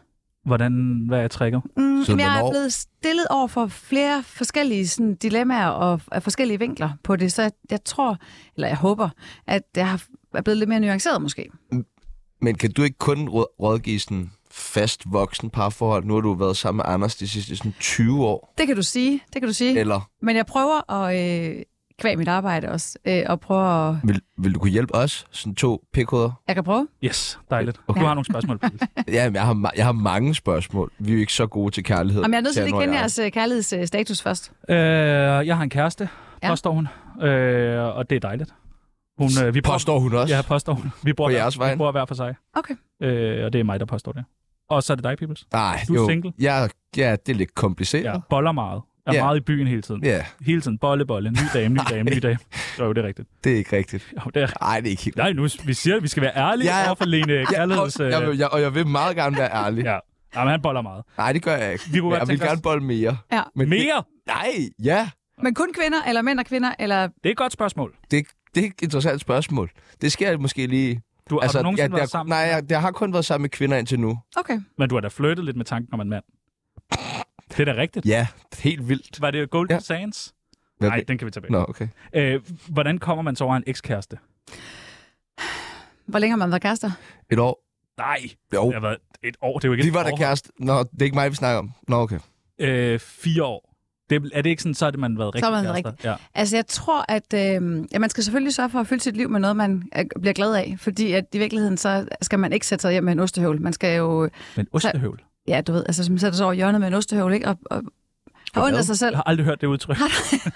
C: Hvordan, hvad er tricket?
B: Mm,
A: Siden
B: men jeg
A: hvornår?
B: er blevet stillet over for flere forskellige sådan, dilemmaer og af forskellige vinkler på det, så jeg, jeg tror, eller jeg håber, at jeg har er blevet lidt mere nuanceret måske.
A: Men kan du ikke kun råd- rådgive sådan fast voksen parforhold? Nu har du været sammen med Anders de sidste sådan 20 år.
B: Det kan du sige, det kan du sige.
A: Eller
B: Men jeg prøver at øh, kvæg mit arbejde også, øh, og prøver at...
A: vil, vil du kunne hjælpe os? Sådan to pikhoveder?
B: Jeg kan prøve.
C: Yes, dejligt. Okay. Du har nogle spørgsmål.
A: [LAUGHS]
C: Pelle.
A: Ja, men jeg har, ma- jeg har mange spørgsmål. Vi er jo ikke så gode til kærlighed.
B: Jamen, jeg er nødt til
A: Jan
B: lige
A: og
B: at kende
A: jeg.
B: jeres øh, kærlighedsstatus først.
C: øh, jeg har en kæreste,
B: Ja.
C: påstår hun. Øh, og det er dejligt. Hun, øh, vi bor-
A: Påstår hun også?
C: Ja, påstår hun. Vi bor,
A: På
C: hver-
A: jeres
C: vi
A: vejen?
C: bor hver for sig.
B: Okay.
C: Øh, og det er mig, der påstår det. Og så er det dig, Peoples.
A: Nej,
C: Du er
A: jo.
C: single?
A: Ja, ja, det er lidt kompliceret.
C: Ja.
A: Ja.
C: Boller meget. Er
A: Ja.
C: meget i byen hele tiden.
A: ja,
C: Hele tiden bolle, bolle. Ny dame, ny dame, ny dame. Så er jo det er rigtigt.
A: det er ikke rigtigt.
C: Jo, det er rigtigt.
A: Nej, det er ikke helt
C: Nej, nu, vi siger, at vi skal være ærlige
A: Ja,
C: ja,
A: ja.
C: ja. overfor Lene Kærligheds...
A: jeg, jeg, vil- jeg, og jeg vil meget gerne være ærlig.
C: Ja. Jamen, han boller meget.
A: Nej, det gør jeg ikke.
C: Vi kunne godt
A: jeg vil
C: tænke os-
A: gerne bolde mere.
B: Ja.
A: Men Det,
C: Mere?
A: nej, ja.
B: Men kun kvinder, eller mænd og kvinder, eller...
C: Det er et godt spørgsmål.
A: Det, det er et interessant spørgsmål. Det sker måske lige...
C: Du, altså, har du nogensinde
A: jeg,
C: været sammen?
A: Nej, jeg, jeg har kun været sammen med kvinder indtil nu.
B: Okay.
C: Men du har da flirtet lidt med tanken om en mand. Det er da rigtigt.
A: Ja, helt vildt.
C: Var det Golden
A: Ja.
C: ja. Sands?
A: Hvad
C: Nej,
A: med-
C: den kan vi tage
A: Nå,
C: bag.
A: okay.
C: Øh, hvordan kommer man så over en ekskæreste?
B: Hvor længe har man været kærester?
A: Et år.
C: Nej,
A: Jo,
C: det har været et år. Det er jo ikke
A: vi
C: et
A: var da
C: år.
A: kæreste. Nå, det er ikke mig, vi snakker om. Nå, okay.
C: Øh, fire år. Det, er det ikke sådan, så er det, man har været
B: Så
C: rigtig
B: har man været
C: kærester? Ja.
B: Altså, jeg tror, at øh, ja, man skal selvfølgelig sørge for at fylde sit liv med noget, man øh, bliver glad af. Fordi at i virkeligheden, så skal man ikke sætte sig hjem med en ostehøvl. Man skal jo, øh,
C: Men ostehøvl.
B: ja, du ved, altså, som sætter sig over hjørnet med en ostehøvl, ikke? Og, og har undret sig selv.
C: Jeg har aldrig hørt det udtryk.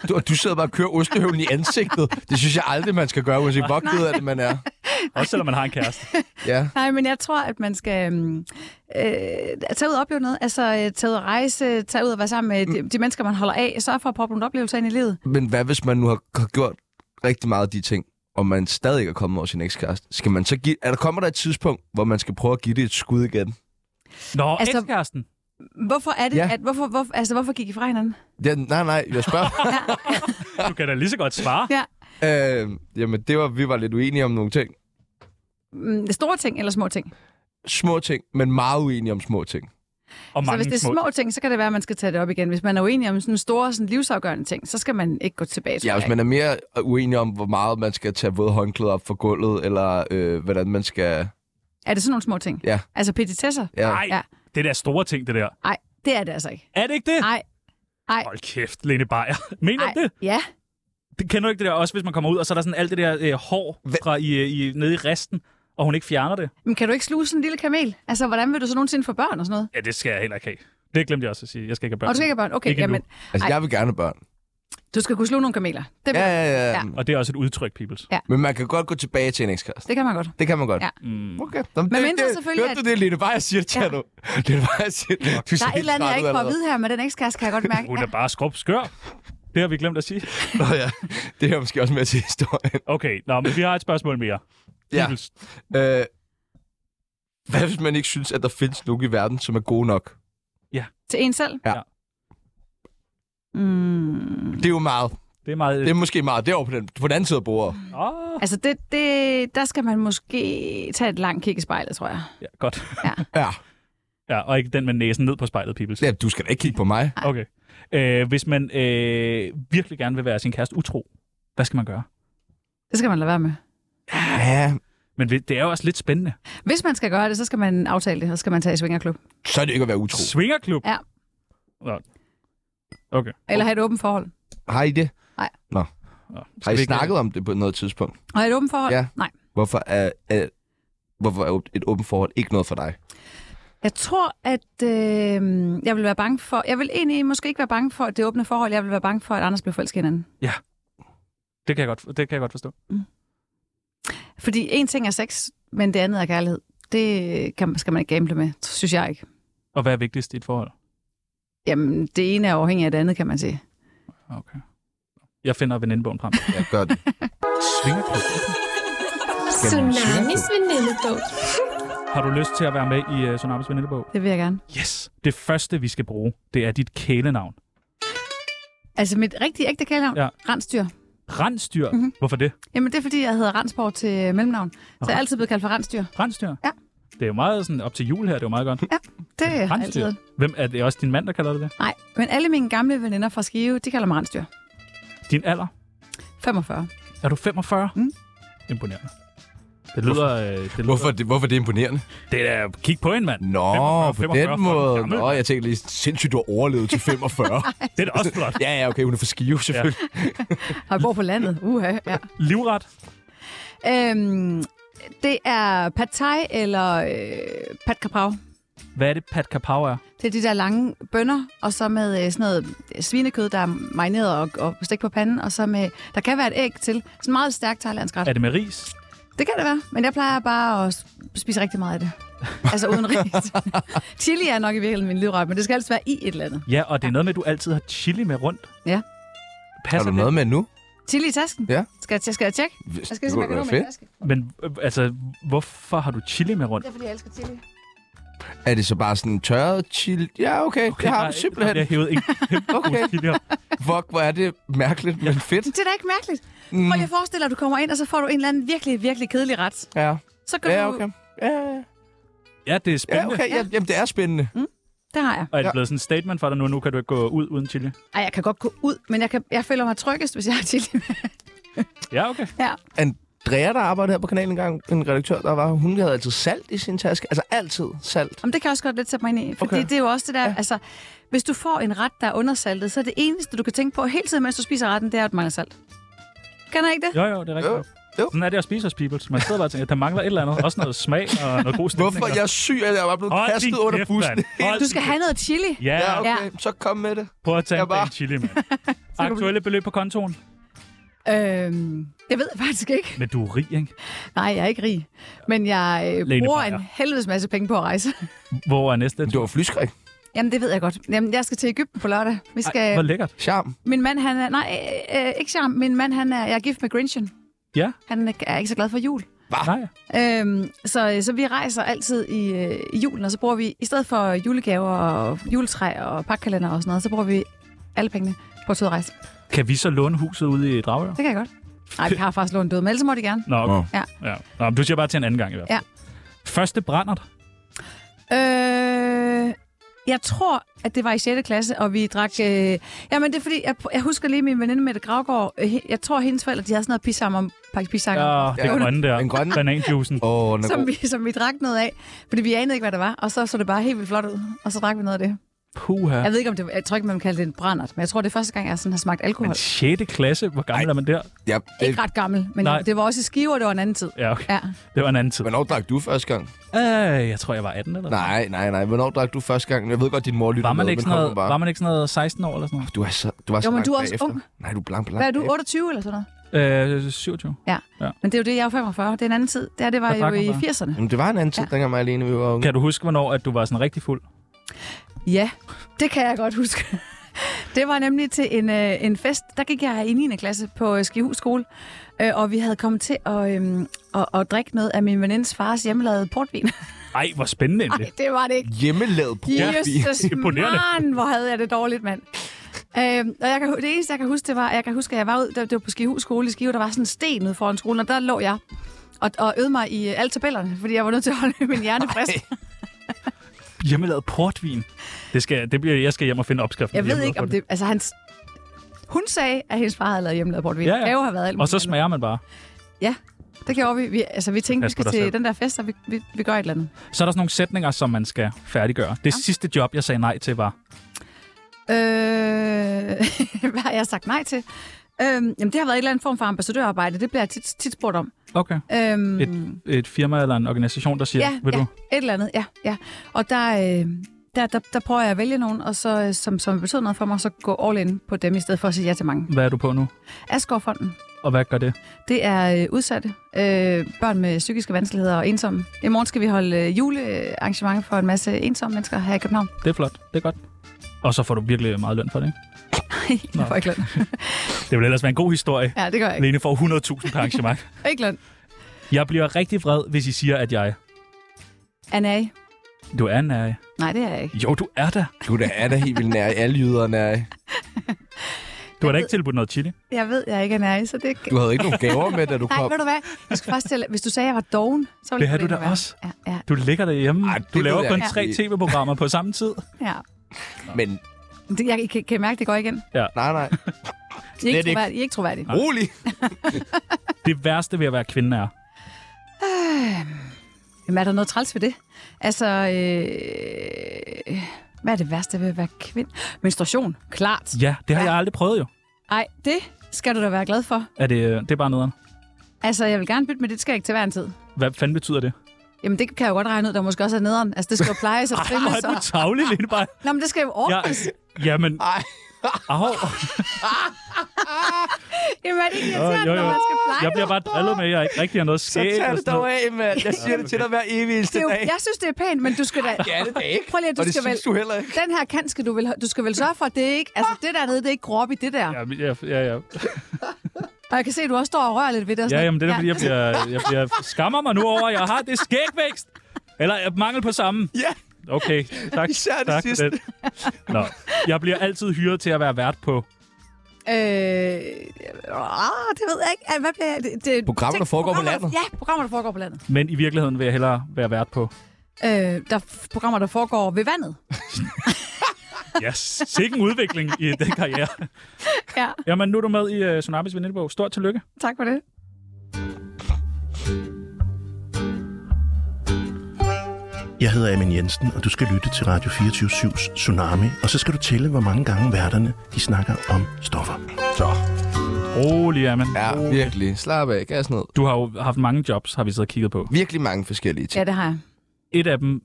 A: Du, og du sidder bare og kører ostehøvlen i ansigtet. Det synes jeg aldrig, man skal gøre, uanset hvor ked af det, man er.
C: [LAUGHS] Også selvom man har en kæreste.
A: Ja.
B: Nej, men jeg tror, at man skal øhm, øh, tage ud og opleve noget. Altså, øh, tage ud og rejse, tage ud og være sammen med de, de mennesker, man holder af. Sørge for at proppe nogle oplevelser ind i livet.
A: Men hvad hvis man nu har har gjort rigtig meget af de ting, og man stadig ikke er kommet over sin ekskæreste? Skal man så give... Er der kommer der et tidspunkt, hvor man skal prøve at give det et skud igen?
C: Nå,
B: Altså-
C: altså, ekskæresten.
B: Hvorfor er det,
A: Ja.
B: ja. at... Hvorfor, hvor, altså, hvorfor gik I fra hinanden?
A: Ja, nej, nej, jeg spørger.
C: Du kan da lige så godt svare.
B: Ja.
A: øh, jamen, det var, vi var lidt uenige om nogle ting.
B: Mm, Store ting eller små ting?
A: Små ting, men meget uenige om små ting.
C: Og
B: Så
C: mange
B: Altså, hvis det er
C: små...
B: små ting, så kan det være, at man skal tage det op igen. Hvis man er uenig om sådan store sådan livsafgørende ting, så skal man ikke gå tilbage. tror
A: Ja,
B: jeg.
A: hvis man er mere uenig om, hvor meget man skal tage våde håndklæder op fra gulvet, eller øh, hvordan man skal...
B: Er det sådan nogle små ting?
A: Ja.
B: Altså petitesser?
A: Ja.
C: Nej,
B: Ja.
C: det der store ting, det der.
B: Nej, det er det altså ikke.
C: Er det ikke det?
B: Nej. Ej.
C: Hold kæft, Lene Beyer. [LAUGHS] Mener
B: Nej.
C: du det?
B: Ja.
C: det? Kender du ikke det der også, hvis man kommer ud, og så er der sådan alt det der øh, hår fra i, øh, i, nede i resten, og hun ikke fjerner det?
B: Men kan du ikke sluge sådan en lille kamel? Altså, hvordan vil du så nogensinde få børn og sådan noget?
C: Ja, det skal jeg heller ikke have. Det glemte jeg også at sige. Jeg skal ikke have børn.
B: Og du skal ikke have børn? Okay,
C: Ikke endnu.
B: jamen,
A: Altså,
B: Ej.
A: jeg vil gerne have børn.
B: du skal kunne sluge nogle kameler. Det,
A: Ja, ja, ja. ja.
B: Ja.
C: Og det er også et udtryk, peoples.
A: Men man kan godt gå tilbage til en ekskæreste.
B: det kan man godt.
A: Det kan man godt.
B: Ja.
C: Mm.
A: Okay. Nå, men
B: Men
A: det,
B: mindre
A: det,
B: selvfølgelig,
A: Hørte
B: at-
A: du det, Line? Bare jeg siger det, ja.
B: Ja.
A: du. Det er bare jeg siger det. Du
B: Der er et eller andet, jeg ikke får at vide her med den ekskæreste, kan jeg
C: [LAUGHS]
B: godt mærke.
C: Hun er bare skrub skør. Det har vi glemt at sige.
A: Nå, ja. Det hører måske også med til historien.
C: Okay, nå, men vi har et spørgsmål mere.
A: Ja. [LAUGHS]
C: Peoples.
A: Øh, hvad hvis man ikke synes, at der findes nogen i verden, som er gode nok?
B: Til en selv?
A: Ja.
B: Mm.
A: Det er jo meget.
C: Det er meget... øh, ah,
A: Det er måske meget. Det er over på den, på den anden side af bordet.
C: Åh,
B: Altså, det, det, der skal man måske tage et langt kig i spejlet, tror jeg.
C: ja, godt.
A: Ja.
C: [LAUGHS] Ja, og ikke den med næsen ned på spejlet, peoples.
A: ja. Du skal da ikke kigge på mig.
C: Okay. Øh, hvis man øh, virkelig gerne vil være sin kæreste utro, hvad skal man gøre?
B: Det skal man lade være med.
A: Ja.
C: Men vi- det er jo også lidt spændende.
B: Hvis man skal gøre det, så skal man aftale det, og så skal man tage i svingerklub.
A: Så er det ikke at være utro.
C: Svingerklub?
B: Ja.
C: Nå. Okay.
B: Eller have et åbent forhold.
A: Har I det?
C: Nå. Skal
A: Har I
C: vi ikke-
A: snakket om det på noget tidspunkt?
B: Og et åbent forhold?
A: Ja.
B: Nej.
A: Hvorfor er, er, hvorfor er et åbent forhold ikke noget for dig?
B: Jeg tror, at øh, jeg vil være bange for... Jeg vil egentlig måske ikke være bange for det åbne forhold. Jeg vil være bange for, at Anders bliver forelsket i hinanden.
C: Det kan jeg godt, det kan jeg godt forstå.
B: Fordi en ting er sex, men det andet er kærlighed. Det kan, skal man ikke gamble med, synes jeg ikke.
C: Og hvad er vigtigst i et forhold?
B: Jamen, det ene er afhængig af det andet, kan man sige.
C: Okay. Jeg finder venindebogen frem.
A: Jeg gør det.
C: Svingerklub.
H: Tsunamis venindebog.
C: Har du lyst til at være med i uh, Tsunamis venindebog?
B: Det vil jeg gerne.
C: Yes. Det første, vi skal bruge, det er dit kælenavn.
B: Altså, mit rigtige ægte kælenavn?
C: Ja.
B: Ja. Rensdyr.
C: Rensdyr.
B: Mhm.
C: Mm-hmm. Hvorfor det?
B: Jamen, det er, fordi jeg hedder Rensborg til mellemnavn. Så jeg er altid blevet kaldt for Rensdyr.
C: Rensdyr?
B: Ja.
C: Det er jo meget sådan op til jul her, det er jo meget
B: [LAUGHS]
C: godt.
B: Det har jeg altid.
C: Rensdyr.
B: heddet.
C: Hvem er det også din mand, der kalder det det?
B: Nej, men alle mine gamle veninder fra Skive, de kalder mig Rensdyr.
C: Din alder?
B: 45.
C: Er du 45?
B: Mm.
C: Imponerende. Det lyder... Øh, det lyder
A: Hvorfor, er det, hvorfor er det imponerende?
C: Det er da... Kig på en, mand.
A: Nå,
C: 45,
A: på
C: 45,
A: den
C: for en
A: måde.
C: gammel
A: Nå, jeg tænkte lige, sindssygt, du har overlevet til [LAUGHS] 45.
C: Det er da også flot.
A: ja, ja, okay, hun er for skive, selvfølgelig.
B: Og jeg bor på landet. Uha, ja.
C: Livret.
B: Øhm, det er pad thai eller øh, pad kaprav.
C: Hvad er det, Pat Kapow er?
B: Det er de der lange bønner, og så med øh, sådan noget svinekød, der er marineret og, og stegt på panden, og så med, der kan være et æg til. Sådan en meget stærk thailandsk ret.
C: Er det med ris?
B: Det kan det være, men jeg plejer bare at spise rigtig meget af det. Altså
A: [LAUGHS]
B: uden ris. Chili er nok i virkeligheden min livret, men det skal helst være i et eller andet.
C: Ja, og det er noget med, at du altid har chili med rundt.
B: Ja.
A: Har
C: Passer
A: du
C: det?
A: noget med nu?
B: Chili i tasken?
A: Ja.
B: Skal jeg, tje- skal jeg tjekke? Jeg skal lige se,
A: kunne
B: hvad jeg
A: da
B: kan nå
A: være
B: med min taske.
C: Men øh, altså, hvorfor har du chili med rundt?
B: Det er, fordi jeg elsker chili.
A: Er det så bare sådan tørret chill? Ja, okay, okay det har
C: nej,
A: du simpelthen.
C: Jeg hævede
A: [LAUGHS]
C: ikke kæmpe okay.
A: Okay.
C: chili op.
A: Fuck, hvor er det mærkeligt, men fedt.
B: Det er da ikke mærkeligt.
A: Mm.
B: Prøv lige at forestille dig, at du kommer ind, og så får du en eller anden virkelig, virkelig kedelig ret.
A: Ja,
B: Så går
A: ja
B: du...
A: okay. Ja, ja,
C: Ja, det er
A: ja,
C: spændende.
A: okay. Ja, jamen, det er spændende.
B: Det har jeg.
C: Og er det
A: Ja.
C: blevet sådan en statement for dig nu, nu kan du ikke gå ud uden chili?
B: Ej, jeg kan godt gå ud, men jeg, kan, jeg føler mig tryggest, hvis jeg har chili med.
C: Ja, okay.
B: Ja.
A: Andrea, der arbejdede her på kanalen engang, en redaktør, der var, hun havde altid salt i sin taske. Altså altid salt.
B: Jamen, det kan jeg også godt lidt sætte mig ind i, fordi
A: Okay.
B: okay. det er jo også det der, ja. altså, hvis du får en ret, der er undersaltet, så er det eneste, du kan tænke på hele tiden, mens du spiser retten, det er, at du mangler salt. Kan jeg ikke det?
C: Jo, jo, det er
A: Jo,
C: rigtigt.
A: jo.
C: Sådan er det at spise hos people. Man sidder bare og tænker, at der mangler et eller andet. Også noget smag og noget god stemning.
A: Hvorfor jeg er syg, at jeg var blevet
C: Hold
A: kastet
C: din
A: under
C: kæft,
A: bussen?
C: mand. Hold
B: Du skal have noget chili.
C: Ja,
A: [LAUGHS] Ja,
C: ja.
A: okay. Så kom med det.
C: prøv at tage
A: Jeg
C: en
A: bare-
C: bare...
A: [LAUGHS]
C: chili, mand. Aktuelle beløb på kontoen.
B: Øhm, jeg ved faktisk ikke.
C: Men du er rig, ikke?
B: Nej, jeg er ikke rig. Men jeg øh,
C: Lene
B: bruger
C: Beyer.
B: en helvedes masse penge på at rejse.
C: Hvor er næste?
A: Det var flyskræk.
B: Jamen, det ved jeg godt. Jamen, jeg skal til Ægypten på lørdag. Vi skal...
C: Ej, hvor lækkert.
A: Charm.
B: Min mand, han er... Nej, øh, øh, ikke charm. Min mand, han er... Jeg er gift med Grinchen.
C: Ja.
B: Han er- er ikke så glad for jul.
A: Ah.
C: Nej.
B: Øhm, så, så vi rejser altid i, øh, i julen, og så bruger vi... I stedet for julegaver og juletræ og pakkalender og sådan noget, så bruger vi alle pengene på at tage ud at rejse.
C: Kan vi så låne huset ude i Dragør?
B: Det kan jeg godt. Nej, vi har faktisk lånt død, men ellers må de gerne.
C: Nå, okay.
B: Ja.
C: ja. Nå, men du siger bare til en anden gang i hvert fald. Ja. Første brændert.
B: Øh, jeg tror, at det var i 6. klasse, og vi drak... Øh, jamen, det er fordi, jeg, jeg husker lige min veninde Mette Gravgaard. Øh, he- jeg tror, hendes forældre, de havde sådan noget pisam om pakke pisanger.
C: Ja, det
A: Ja.
C: grønne der.
A: Den grønne.
C: Bananjuicen.
A: Åh, den er
B: Som
A: god.
B: vi, som vi drak noget af, fordi vi anede ikke, hvad det var. Og så så det bare helt vildt flot ud, og så drak vi noget af det.
C: Puha.
B: Jeg ved ikke, om det var, jeg tror ikke, man kalder det en brændert, men jeg tror, det er første gang, jeg sådan har smagt alkohol.
C: Men 6. klasse, hvor gammel
A: Ej.
C: er man der?
A: Ja, det,
B: Ikke ret gammel, men
C: Nej.
B: Nej. det var også i skiver, det var en anden tid.
C: Ja, okay.
B: Ja.
C: Det var en anden tid.
A: hvornår drak du første gang?
C: Øh, jeg tror, jeg var 18 eller
A: Nej, nej, nej. Hvornår drak du første gang? Jeg ved godt, din mor lytter
C: Var man,
A: med,
C: ikke
A: men
C: sådan
A: kom
C: noget,
A: nu bare.
C: var man ikke sådan noget 16 år eller sådan
A: Du er så, du er så
B: Jo, men
A: langt
B: du er også
A: bagefter.
B: ung.
A: Nej, du er blank, blank.
B: Hvad er du, 28 eller sådan noget?
C: noget? Øh, 27.
B: Men det er jo det, jeg er jo 45. Det er en anden tid. Det, her, det var
C: Der
B: jo
C: drak man
B: i
C: bare.
B: 80'erne.
A: Jamen, det var en anden tid, ja. dengang mig alene, vi var unge.
C: Kan du huske, hvornår at du var sådan rigtig fuld?
B: Ja, det kan jeg godt huske. [LAUGHS] Det var nemlig til en, øh, en fest. Der gik jeg i 9. klasse på øh, Skihus skole, øh, og vi havde kommet til at, øh, at, at drikke noget af min venindes fars hjemmelavede portvin. [LAUGHS]
C: Ej, hvor spændende endelig.
B: Nej, det var det ikke.
A: Hjemmelavet portvin.
B: Jesus,
C: Imponerende.
B: man, hvor havde jeg det dårligt, mand. Øhm, og jeg kan, hu- det eneste, jeg kan huske, det var, jeg kan huske, at jeg var ud, det, det var på Skihus skole i Skive, der var sådan en sten ude foran skolen, og der lå jeg og, og øvede mig i øh, alle tabellerne, fordi jeg var nødt til at holde min hjerne frisk.
C: Hjemmelavet portvin. Det skal, det bliver, jeg skal hjem og finde opskriften.
B: Jeg
C: på
B: ved
C: hjemmelavet
B: ikke, om det... Altså, hans, hun sagde, at hendes far havde lavet hjemmelavet portvin.
C: Ja,
B: Ja, ja. Det
C: ja.
B: kan jo have været alt
C: portvin. Og så
B: muligt andet.
C: smager man bare.
B: Det gjorde vi. vi altså, vi tænkte,
C: Pas
B: vi
C: på
B: skal
C: dig
B: til
C: selv.
B: den der fest, og vi, vi, vi gør et eller andet.
C: Så er der sådan nogle sætninger, som man skal færdiggøre. Det sidste job, jeg sagde nej til, var...
B: Øh, [LAUGHS] hvad har jeg sagt nej til? Øhm, jamen, det har været et eller andet form for ambassadørarbejde. Det bliver jeg tit, tit spurgt om.
C: Okay.
B: Øhm,
C: Et firma eller en organisation, der siger,
B: ja,
C: ved
B: ja,
C: du?
B: et eller andet, ja. ja. Og der, øh, der, der, der prøver jeg at vælge nogen, og så, øh, som, som betyder noget for mig, så gå all in på dem, i stedet for at sige ja til mange.
C: Hvad er du på nu?
B: Asgaardfonden,
C: Og hvad gør det?
B: det er øh, udsatte, øh, børn med psykiske vanskeligheder og ensomme. I morgen skal vi holde øh, julearrangement for en masse ensomme mennesker her i København.
C: Det er flot. Det er godt. Og så får du virkelig meget løn for det, ikke?
B: Jeg får ikke løn.
C: Det vil ellers være en god historie.
B: Ja, det gør jeg ikke.
C: Lene får 100.000 per arrangement.
B: Ikke løn.
C: [LAUGHS] jeg bliver rigtig vred, hvis I siger, at jeg...
B: Anna, I?
C: Du er nær.
B: nej, det er jeg ikke.
C: Jo, du er der.
A: Du der er da helt vildt nær i alle jyderne. er i.
C: Du har da ikke tilbudt noget chili.
B: Jeg ved, jeg ikke er nær, så det
A: Du havde ikke nogen gaver med, da du
B: Nej,
A: kom.
B: ved du hvad? Jeg skulle faktisk til, hvis du sagde, at jeg var doven, så ville
C: Det har
B: jeg
C: du
B: ikke
C: da
B: være.
C: også.
B: Ja, ja,
C: Du ligger derhjemme.
A: Ej,
C: Ej,
A: det
C: du
A: ved
C: laver
A: jeg
C: kun
A: ikke.
C: tre tv-programmer på samme tid.
B: ja.
A: Men
B: Det, jeg kan, kan jeg mærke, at det går igen.
A: nej, [LAUGHS] nej.
B: I er
A: Slet
B: ikke
A: ikke.
B: troværdige. I er ikke troværdige.
A: Rolig.
C: Det værste ved at være kvinde er...
B: Jamen, er der noget træls ved det? Altså, øh, hvad er det værste ved at være kvinde? Menstruation, klart.
C: Ja, det har
B: Ja.
C: jeg aldrig prøvet jo.
B: Ej, det skal du da være glad for.
C: Er det, øh, det er bare noget.
B: Altså, jeg vil gerne bytte, men det skal jeg ikke til hver en tid.
C: Hvad fanden betyder det?
B: Jamen, det kan jeg jo godt regne ud, der måske også er nederen. Altså, det skal jo
C: [LAUGHS]
B: plejes og
C: Hvor
B: trimmes.
C: er du
B: Og...
C: tavlig, Lene bare.
B: Nå, men det skal jo
C: Ja,
B: ordnes.
C: jamen,
A: Ej.
C: Au.
B: Jamen, er det ikke irriterende,
C: jo, jo.
B: når man skal pleje
C: Jeg bliver bare drillet med, at jeg ikke rigtig har noget
A: Så
C: skæg.
A: tag
C: eller
A: det
C: sådan
A: dog
C: noget.
A: af, mand. Jeg siger det til dig hver evig eneste
B: det er jo,
A: dag.
B: jeg synes, det er pænt, men du skal
C: [LAUGHS]
B: da...
A: Ja, det er det ikke.
B: Prøv lige, at
A: Og
B: du
A: det
B: skal vel...
A: synes du heller ikke.
B: Den her kant skal du vel... Du skal vel sørge for, at det ikke... Altså, det der nede, det er ikke grob i det der.
C: Ja, ja, ja, ja. Og
B: Og jeg kan se, at du også står og rører lidt ved det. og sådan
C: ja,
B: noget.
C: jamen det er da, fordi, jeg, bliver, jeg bliver, skammer mig nu over, at jeg har det skægvækst. Eller øh, mangel på samme.
A: Ja,
C: Okay, tak.
A: Især det
C: tak for
A: sidste.
C: det. Nå, jeg bliver altid hyret til at være vært på.
B: Øh, ah, det ved jeg ikke. Ah, Hvad bliver jeg- det, det,
A: Programmer, der foregår på landet.
B: Ja, programmer, der foregår på landet.
C: Men i virkeligheden vil jeg hellere være vært på.
B: Øh, der er f- programmer, der foregår ved vandet.
C: Ja, sikke en udvikling i den karriere.
B: Ja,
C: øh, Jamen, nu er du med i uh, Tsunamis venindebog. Stort tillykke.
B: tak for det.
H: Jeg hedder Amin Jensen, og du skal lytte til Radio 24-7's Tsunami. Og så skal du tælle, hvor mange gange værterne de snakker om stoffer.
A: Så.
C: Rolig, Amin.
A: Ja, virkelig. Slap af. Gas ned.
C: Du har jo haft mange jobs, har vi siddet og kigget på.
A: Virkelig mange forskellige ting,
B: Ja, det har jeg.
C: Et af dem,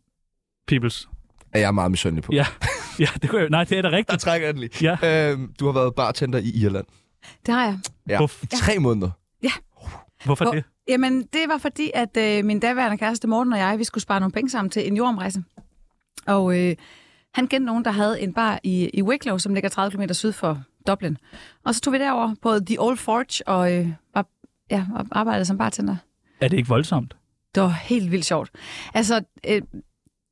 C: Peoples.
A: er jeg meget misundelig på.
C: Ja, ja det kunne jeg, nej, det er da
A: Der
C: rigtigt.
A: trækker jeg den lige.
C: Ja.
A: Øhm, du har været bartender i Irland.
B: Det har jeg.
A: Ja.
C: Hvorfor,
A: Tre måneder.
C: hvorfor
B: Hvor-
C: det?
B: Jamen, det var fordi, at øh, min daværende kæreste Morten og jeg, vi skulle spare nogle penge sammen til en jordomrejse. Og øh, han kendte nogen, der havde en bar i, i Wicklow, som ligger 30 km syd for Dublin. Og så tog vi derover på The Old Forge og, øh, var, ja, og arbejdede som bartender.
C: Er det ikke voldsomt?
B: Det var helt vildt sjovt. Altså, øh,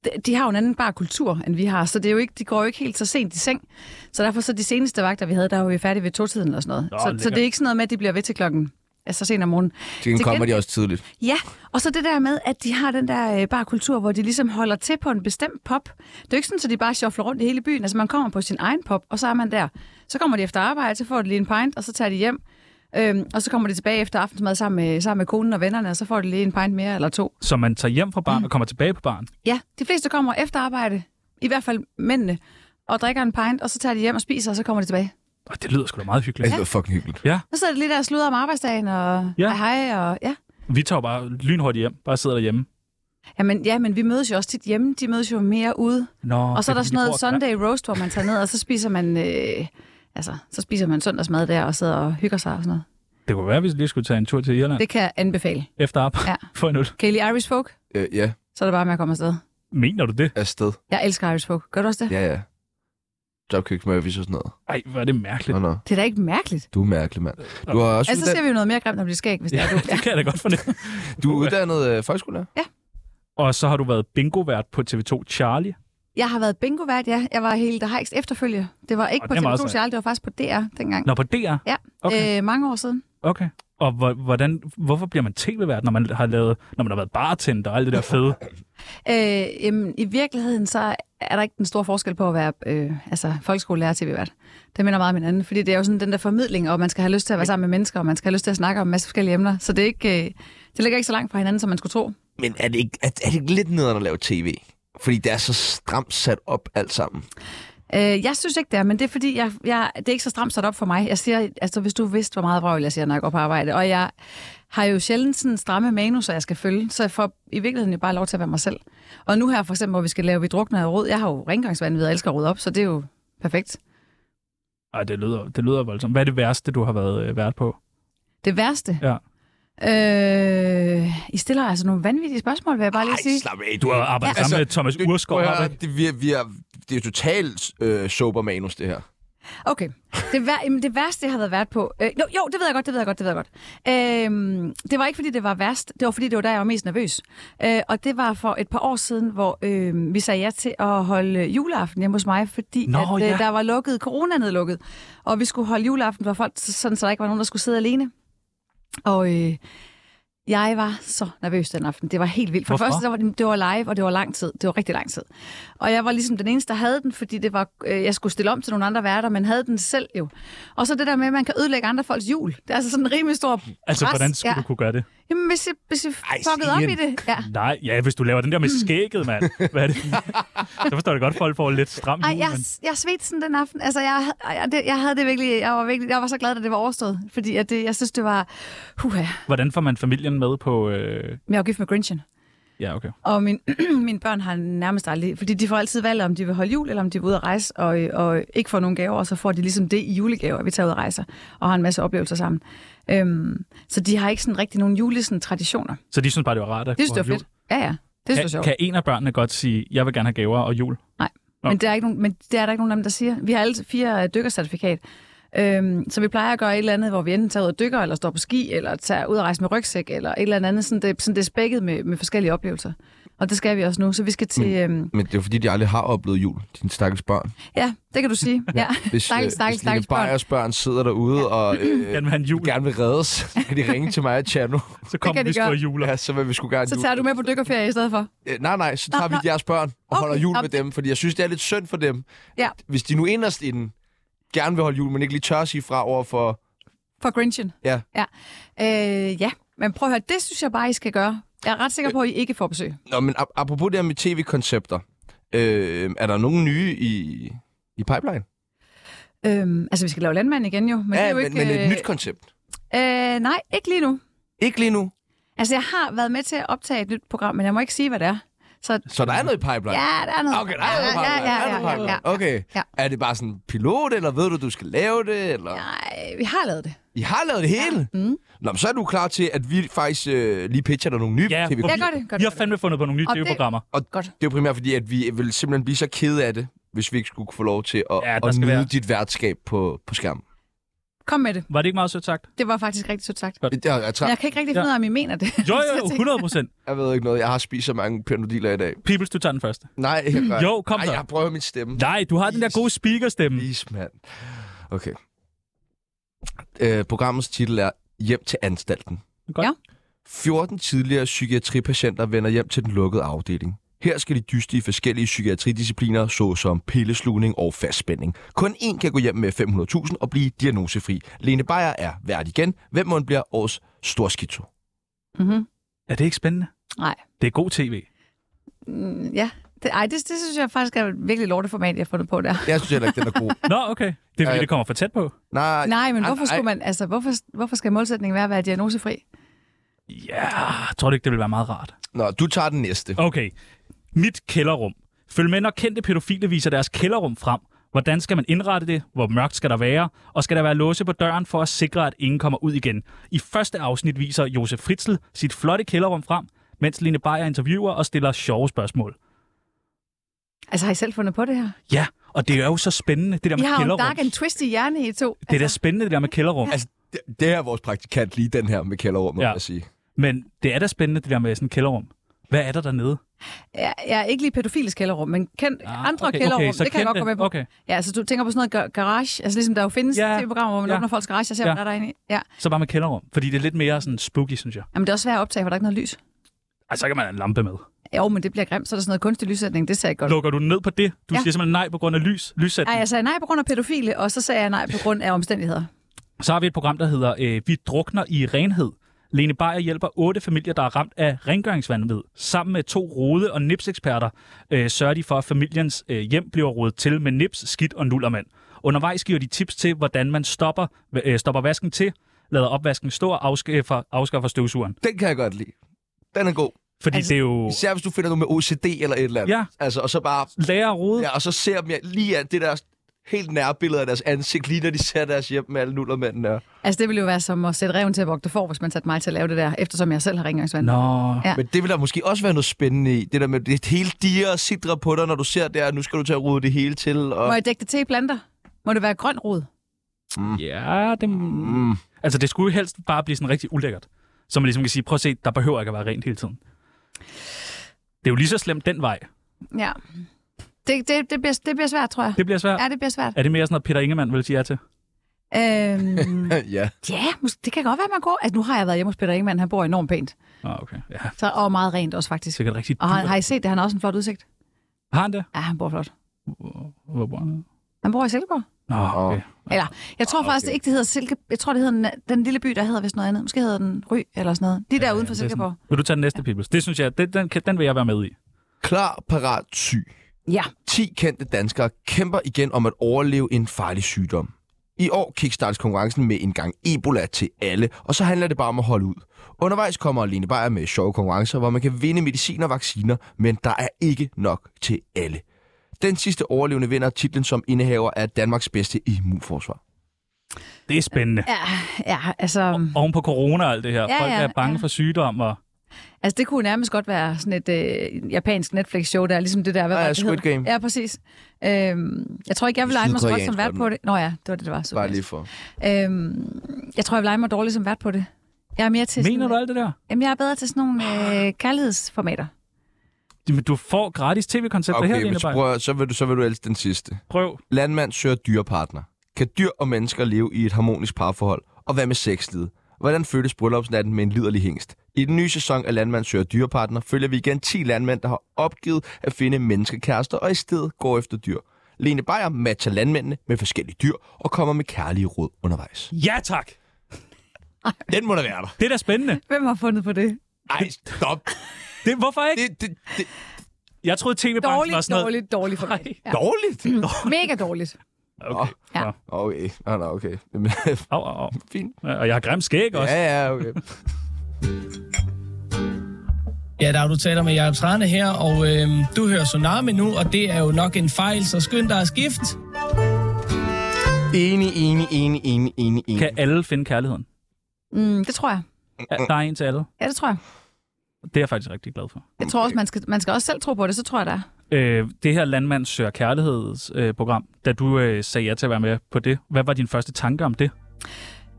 B: de- de har jo en anden bar kultur, end vi har, så det er jo ikke, de går jo ikke helt så sent i seng. Så derfor så de seneste vagter, vi havde, der var vi færdige ved to-tiden eller sådan noget.
C: Nå,
B: så, så
C: lækkert.
B: det er ikke sådan noget med, at de bliver ved til klokken altså sent om morgenen.
A: Til gengæld kommer de også tidligt.
B: Ja, og så det der med, at de har den der øh, bare kultur, hvor de ligesom holder til på en bestemt pop. Det er jo ikke sådan, at de bare shuffler rundt i hele byen. Altså man kommer på sin egen pop, og så er man der. Så kommer de efter arbejde, så får de lige en pint, og så tager de hjem. Øhm, og så kommer de tilbage efter aftensmad sammen med, sammen med konen og vennerne, og så får de lige en pint mere eller to.
C: Så man tager hjem fra barn og kommer tilbage på barn.
B: Ja, de fleste kommer efter arbejde, i hvert fald mændene, og drikker en pint, og så tager de hjem og spiser, og så kommer de tilbage.
C: Og det lyder sgu da meget hyggeligt.
A: Altså, Det var fucking hyggeligt.
B: Så sidder de lige der og sluder om arbejdsdagen, og
C: Ja.
B: ja. hej, hej, og ja.
C: Vi tager jo bare lynhurtigt hjem. Bare sidder derhjemme.
B: Jamen, ja, men vi mødes jo også tit hjemme. De mødes jo mere ude.
C: Nå,
B: Og så er
C: det
B: der sådan noget
C: fordi, de bor-
B: Sunday roast, hvor man tager ned, og så spiser man, øh, altså, så spiser man søndagsmad der og sidder og hygger sig og sådan noget.
C: Ja, det kunne være, hvis vi lige skulle tage en tur til Irland det...
B: Det kan jeg anbefale.
C: efter arbejde. Ja.
B: Ja.
C: [LAUGHS] For en øl.
B: Kan I lide Irish folk?
A: Øh, ja,
B: Så er det bare med at komme afsted.
C: Mener du det?
A: afsted.
B: Jeg elsker Irish folk. Gør du også det? Ja.
A: Ja, ja. Dropkick Murphys og sådan noget.
C: Ej, hvor er det mærkeligt.
A: Nå, nå.
B: Det er da ikke mærkeligt.
A: Du er mærkelig, mand. Du har også
B: Altså, så
A: altså,
B: ser vi jo noget mere grimt, når vi skæg, hvis det
C: Ja,
B: er du.
C: det kan jeg da godt fornemme.
A: uddannet, du er uddannet øh, folkeskolelærer.
C: Og så har du været bingovært på TV2 Charlie.
B: Jeg har været bingovært, ja. Jeg var helt der hejst efterfølge. Det var ikke
C: Og
B: på
C: det er meget
B: TV2
C: sejt.
B: Charlie, det var faktisk på DR dengang.
C: Nå, på DR.
B: Ja,
C: Okay.
B: okay. øh, mange år siden.
C: Okay. Og hvor- hvordan, hvorfor bliver man tv-vært, når man har lavet, når man har været bartender og alt det der fede?
B: Øh, jamen, I virkeligheden så er der ikke den store forskel på at være øh, altså, folkeskolelærer til vært. Det minder meget om hinanden, fordi det er jo sådan den der formidling, og man skal have lyst til at være sammen med mennesker, og man skal have lyst til at snakke om en masse forskellige emner. Så det, er ikke, øh, det ligger ikke så langt fra hinanden, som man skulle tro.
A: Men er det, ikke, er, er det ikke lidt nederen at lave tv? Fordi det er så stramt sat op alt sammen.
B: Øh, jeg synes ikke, det er, men det er fordi, jeg, jeg, det er ikke så stramt sat op for mig. Jeg siger, altså hvis du vidste, hvor meget vrøvl jeg siger, når jeg går på arbejde, og jeg har jo sjældent sådan stramme manuser, jeg skal følge, så jeg får i virkeligheden jo bare lov til at være mig selv. Og nu her for eksempel, hvor vi skal lave Vi drukner og rod, jeg har jo rengøringsvand, jeg elsker at rydde op, så det er jo perfekt.
C: Ej, det lyder, det lyder voldsomt. Hvad er det værste, du har været øh, vært på?
B: Det værste?
C: Ja.
B: Øh, I stiller altså nogle vanvittige spørgsmål, vil jeg bare lige sige.
A: slap af,
C: Du har arbejdet ja, sammen altså, med Thomas Urskov.
A: prøv at
C: har
A: høre,
C: du ikke?
A: det, vi, er- vi er, det er jo totalt øh, sober manus, det her.
B: Okay. Det, vær, jamen, det værste, jeg har været vært på... Øh, jo, jo, det ved jeg godt, det ved jeg godt, det ved jeg godt. Øh, det var ikke, fordi det var værst. Det var, fordi det var der, jeg var mest nervøs. Øh, og det var for et par år siden, hvor øh, vi sagde ja til at holde øh, juleaften hjemme hos mig, fordi
C: Nå,
B: at, øh,
C: ja.
B: der var lukket, corona nedlukket. Og vi skulle holde juleaften for folk, så- sådan, så der ikke var nogen, der skulle sidde alene. Og øh, jeg var så nervøs den aften. Det var helt vildt. For
C: Hvorfor?
B: Hvorfor? første, der var det, det var live, og det var lang tid. Det var rigtig lang tid. Og jeg var ligesom den eneste, der havde den, fordi det var, øh, jeg skulle stille om til nogle andre værter, men havde den selv jo. Og så det der med, at man kan ødelægge andre folks jul. Det er altså sådan en rimelig stor
C: Altså,
B: pres.
C: hvordan skulle ja.
B: ja.
C: du kunne gøre det?
B: Jamen, hvis jeg, hvis jeg
A: Ej,
B: fuckede op i
A: Signe.
B: det. Ja.
C: Nej, ja, hvis du laver den der med
B: Hmm.
C: skægget, mand. Hvad er
B: [LAUGHS]
C: det? så forstår jeg godt, at folk får lidt stram jul,
B: Ej, jeg,
C: men
B: jeg svedte sådan den aften. Altså, jeg, hav- ej, det, jeg havde det virkelig, jeg var virkelig, jeg var så glad, at det var overstået. Fordi at det, jeg synes, det var, huha, jeg
C: hvordan får man familien med på... Øh...
B: er jo gift med Grinchen.
C: Ja, okay.
B: Og min, [CLEARS THROAT] mine børn har nærmest aldrig, fordi de får altid valget, om de vil holde jul, eller om de vil ud at rejse, og, og ikke får nogen gaver, og så får de ligesom det i julegaver, at vi tager ud og rejser, og har en masse oplevelser sammen. Øhm, så de har ikke sådan rigtig nogen julesen traditioner.
C: Så de synes bare, det var rart at
B: Det synes
C: kunne
B: jeg
C: holde
B: var fedt. Ja, ja. Det synes jeg er
C: jul. Kan,
B: sjovt.
C: kan en af børnene godt sige, jeg vil gerne have gaver og jul?
B: Men, der er ikke nogen, men det er der ikke nogen af dem, der siger. Vi har alle fire øh, dykkercertifikat. Øhm, så vi plejer at gøre et eller andet, hvor vi enten tager ud og dykker, eller står på ski, eller tager ud og rejse med rygsæk, eller et eller andet. Sådan det, sådan det er spækket med, med forskellige oplevelser. Og det skal vi også nu. Så vi skal til...
C: Mm.
B: Øhm,
A: Men det er jo fordi, de aldrig har oplevet jul, dine stakkels børn.
B: ja, det kan du sige. Ja.
A: Hvis, øh,
B: Stakkels, stakkels,
A: hvis dine
B: stakkels børn.
A: bajers børn sidder derude og
B: [CLEARS THROAT]
A: øh,
C: Gerne vil have en jul,
A: gerne vil reddes, så kan de ringe til mig og Tjerno.
C: så kommer
B: kan de
C: vi og
B: gøre.
C: juler.
A: Ja, så vil vi sgu gerne
B: Så
A: jul.
B: tager du med på dykkerferie i stedet for?
A: Øh, nej, nej, så tager vi
B: nå.
A: jeres børn og holder
B: Okay,
A: jul med
B: jamen,
A: dem, fordi jeg synes, det er lidt synd for dem.
B: Ja.
A: Hvis de nu inderst inden gerne vil holde jul, men ikke lige tør at sige fra over for...
B: For Grinchen?
A: Ja.
B: ja. Øh, ja, men prøv at høre, det synes jeg bare, I skal gøre. Jeg er ret sikker på, at I ikke får besøg.
A: Nå, men ap- apropos det her med tv-koncepter. Øh, er der nogen nye i, i pipeline?
B: Øhm, altså, vi skal lave landmand igen jo. Men det er jo
A: men,
B: ikke,
A: men et
B: øh,
A: nyt koncept.
B: øh, nej, ikke lige nu.
A: Ikke lige nu,
B: Altså, jeg har været med til at optage et nyt program, men jeg må ikke sige, hvad det er. Så
A: så der er noget i pipeline.
B: ja, der er noget.
A: Okay, der er noget i
B: ja,
A: pipeline.
B: ja,
A: der er
B: ja,
A: noget i
B: ja,
A: pipeline.
B: ja, ja.
A: Okay.
B: ja.
A: Er det bare sådan en pilot, eller ved du, du skal lave det? Eller?
B: Nej, vi har lavet det.
A: I har lavet det hele?
B: Mm.
A: Nå, men så er du klar til, at vi faktisk øh, lige pitcher dig nogle nye
C: Ja,
A: tv
C: hvor-
B: Jeg gør det. Gør
C: Vi
B: det.
C: har fandme fundet på nogle nye
B: Og det-
C: tv-programmer.
A: Og
B: Godt.
A: det er jo primært fordi, at vi vil simpelthen blive så kede af det, hvis vi ikke skulle få lov til at,
C: Ja, der
A: at nyde
C: skal være-
A: dit værtskab på, på skærmen.
B: Kom med det.
C: Var det ikke meget sødt sagt?
B: Det var faktisk rigtig sødt sagt.
A: Jeg, jeg, jeg,
B: Men
A: træ-
B: jeg kan ikke rigtig finde ud af, om I mener det. [LAUGHS]
C: Jo,
B: Så
C: jo,
B: tænkte-
C: 100 procent.
A: jeg ved ikke noget. Jeg har spist så mange pyrnodiler i dag.
C: Peoples, du tager den første.
A: Nej, jeg gør
C: Jo, kom
A: Ej,
C: så.
A: jeg prøver min stemme.
C: Nej, du har den der gode speakerstemme.
A: Please, mand. Okay. Øh, programmets titel er Hjem til anstalten.
C: Godt.
B: Ja.
A: 14 tidligere psykiatripatienter vender hjem til den lukkede afdeling. Her skal de dyste i forskellige psykiatridiscipliner, såsom pilleslugning og fastspænding. Kun én kan gå hjem med 500.000 og blive diagnosefri. Lene Beyer er vært igen. Hvem må bliver års storskito?
B: Mhm.
C: Er det ikke spændende?
B: Nej.
C: Det er god tv.
B: Mm, ja. Det, ej, det, det synes jeg faktisk er et virkelig lorteformat, jeg har fundet på der.
A: Jeg synes heller ikke, den er
B: [LAUGHS]
A: god.
C: Nå, okay. Det er fordi,
A: Ja.
C: det kommer for tæt på.
A: Nej,
B: Nej, men
A: Ej,
B: hvorfor
A: ej.
B: skulle man, altså, hvorfor, hvorfor skal målsætningen være at være diagnosefri?
C: Ja, yeah. tror du ikke, det vil være meget rart?
A: Nå, du tager den næste.
C: Okay. Mit kælderrum. Følg med, når kendte pædofile viser deres kælderrum frem. Hvordan skal man indrette det? Hvor mørkt skal der være? Og skal der være låse på døren for at sikre, at ingen kommer ud igen? I første afsnit viser Josef Fritzl sit flotte kælderrum frem, mens Line Beyer interviewer og stiller sjove spørgsmål.
B: Altså, har I selv fundet på det her?
C: Ja, og det er jo så spændende, det der
B: I
C: med
B: har jo en
C: kælderrum.
B: dark and twisty hjerne, I to.
C: Det er da spændende, det der med kælderrum.
A: Altså, det, det er vores praktikant lige den her med kælderrummet,
C: Ja.
A: ja. vil jeg sige.
C: Men det er da spændende, det der med sådan et kælderrum. Hvad er der dernede?
B: Jeg, jeg er ikke lige pædofilisk kælderrum, men kendt
C: Ah,
B: andre
C: okay,
B: kælderrum,
C: okay, så
B: det kan jeg godt
C: kendte.
B: komme med på.
C: Okay.
B: Ja, altså du tænker på sådan noget gar- garage, altså ligesom der jo findes
C: Ja,
B: ja, tv-programmer, hvor man
C: ja.
B: ja. åbner folks garage og ser,
C: Ja.
B: ja. hvad der er derinde. i. Ja.
C: Så bare med kælderrum. Fordi det er lidt mere sådan spooky, synes jeg.
B: Jamen det er også svært at optage, for der er ikke noget lys.
C: Ej, så kan man have en lampe med.
B: Jo, men det bliver grimt, så er der sådan noget kunstig lyssætning, det ser jeg ikke godt. ud.
C: Lukker du ned på det? Du ja.
B: Ja.
C: siger simpelthen nej på grund af lys,
B: Nej,
C: lyssætning.
B: jeg sagde nej på grund af pædofile, og så sagde jeg nej på grund af omstændigheder.
C: Så har vi et program, der hedder øh, Vi drukner i renhed. Lene Beyer hjælper otte familier, der er ramt af rengøringsvandvid. Sammen med to rode- og nipseksperter øh, sørger de for, at familiens øh, hjem bliver rodet til med nips, skidt og nullermand. Undervejs giver de tips til, hvordan man stopper, øh, stopper vasken til, lader opvasken stå og afskaffer, afskaffer støvsugeren.
A: Den kan jeg godt lide. Den er god.
C: Fordi
B: Altså-
C: altså, det er jo...
A: Især hvis du finder noget med OCD eller et eller andet.
C: Ja.
A: Altså, og så bare
C: Lærer at rode.
A: Ja, og så ser dem jeg lige at det der helt nære billede af deres ansigt, lige når de ser deres hjem med alle nullermanden der.
B: Altså det ville jo være som at sætte reven til at vogte for, hvis man satte mig til at lave det der, eftersom jeg selv har rengøringsvand.
C: Nå,
B: Ja.
A: Men det vil der måske også være noget spændende i, det der med det hele diger og sidder på dig, når du ser der, at nu skal du til at rode det hele til.
B: Må
A: Og...
B: jeg dække det til i planter? Må det være grøn rod?
C: ja, det... Mm. Altså, det skulle jo helst bare blive sådan rigtig ulækkert. Så man ligesom kan sige, prøv at se, der behøver ikke at være rent hele tiden. Det er jo lige så slemt den vej.
B: Ja. Det, det, det, bliver, det bliver svært, tror jeg.
C: Det bliver svært.
B: Ja, det bliver svært.
C: Er det mere sådan noget, Peter Ingemann vil sige ja til?
B: Øhm,
A: [LAUGHS]
B: [LAUGHS]
A: ja.
B: ja, mås- det kan godt være, man går. Altså, nu har jeg været hjemme hos Peter Ingemann, han bor enormt pænt.
C: Nå, okay. Ja,
B: Så, og meget rent også, faktisk.
C: sikkert rigtig
B: Og har,
C: dyrt.
B: har I set det? Han har også en flot udsigt.
C: Har han det?
B: Ja, han bor flot.
C: Hvor bor han?
B: Han bor i Silkeborg.
C: Nå, okay.
B: Eller, jeg tror Ah, okay. faktisk det ikke, det hedder Silke... Jeg tror, det hedder den, den lille by, der hedder vist noget andet. Måske hedder den Ry eller sådan noget. De der ja, uden for
C: det er
B: Silkeborg.
C: Vil du tage den næste, Peoples? Det synes jeg, det, den, kan- den vil jeg være med i.
A: Klar, parat, syg.
B: Ja.
A: 10 kendte danskere kæmper igen om at overleve en farlig sygdom. I år kickstartes konkurrencen med en gang Ebola til alle, og så handler det bare om at holde ud. Undervejs kommer Lene Beyer med sjove konkurrencer, hvor man kan vinde medicin og vacciner, men der er ikke nok til alle. Den sidste overlevende vinder titlen som indehaver af Danmarks bedste immunforsvar.
C: Det er spændende.
B: Ja, ja altså,
C: Oven på corona og alt det her.
B: Ja,
C: Folk
B: ja,
C: er bange
B: ja.
C: for sygdom, og
B: altså, det kunne nærmest godt være sådan et øh, japansk Netflix-show, der er ligesom det der... Hvad
A: Ah, Ja,
B: var det, det
A: Squid
B: hed?
A: Game.
B: Ja, præcis. Øhm, jeg tror ikke, jeg vil lege mig så godt
A: Sydkoreansk,
B: som
A: var
B: vært
A: det
B: på det. Nå ja, det var det, det var. Så
A: Bare lige for.
B: Øhm, jeg tror, jeg vil lege mig dårligt som vært på det. Jeg er mere til
C: mener
B: sådan,
C: du alt det der?
B: Jamen, jeg er bedre til sådan nogle øh, kærlighedsformater.
C: Men du får gratis tv-koncepter her,
A: Okay,
C: Lene
A: men så,
C: Beyer.
A: prøv, så, vil du, så vil du elske den sidste.
C: Prøv.
A: Landmand søger dyrepartner. Kan dyr og mennesker leve i et harmonisk parforhold? Og hvad med sexlivet? Hvordan føles bryllupsnatten med en liderlig hængst? I den nye sæson af Landmand søger dyrepartner følger vi igen 10 landmænd, der har opgivet at finde menneskekærester og i stedet går efter dyr. Lene Beyer matcher landmændene med forskellige dyr og kommer med kærlige råd undervejs.
C: Ja, tak.
A: Den må da være der.
C: Det er da spændende.
B: Hvem har fundet på det?
A: Ej, stop.
C: Det, hvorfor ikke?
A: Det, det, det
C: Jeg troede, tv-branchen var
B: Dårligt,
C: sådan noget...
B: dårligt, dårligt for mig. Ja.
A: dårligt.
B: Mega dårligt.
C: Okay.
B: Ja.
C: Nå.
A: Okay, nå, nå, okay.
C: Au, au, au.
A: [LAUGHS] Fint.
C: Og jeg har grim skæg også.
A: Ja, ja, okay.
I: Ja, der du taler med Jacob Trane her, og øh, du hører Tsunami nu, og det er jo nok en fejl, så skynd dig at skifte.
A: Enig, enig, enig, enig, enig, enig.
C: Kan alle finde kærligheden?
B: Mm, det tror jeg.
C: Ja, Der er en til alle.
B: Ja, det tror jeg.
C: Det er jeg faktisk rigtig glad for.
B: Jeg tror også, man skal, man skal også selv tro på det, så tror jeg, der er.
C: Øh, det her Landmand Søger Kærlighedsprogram, øh, program, da du øh, sagde ja til at være med på det, hvad var din første tanke om det?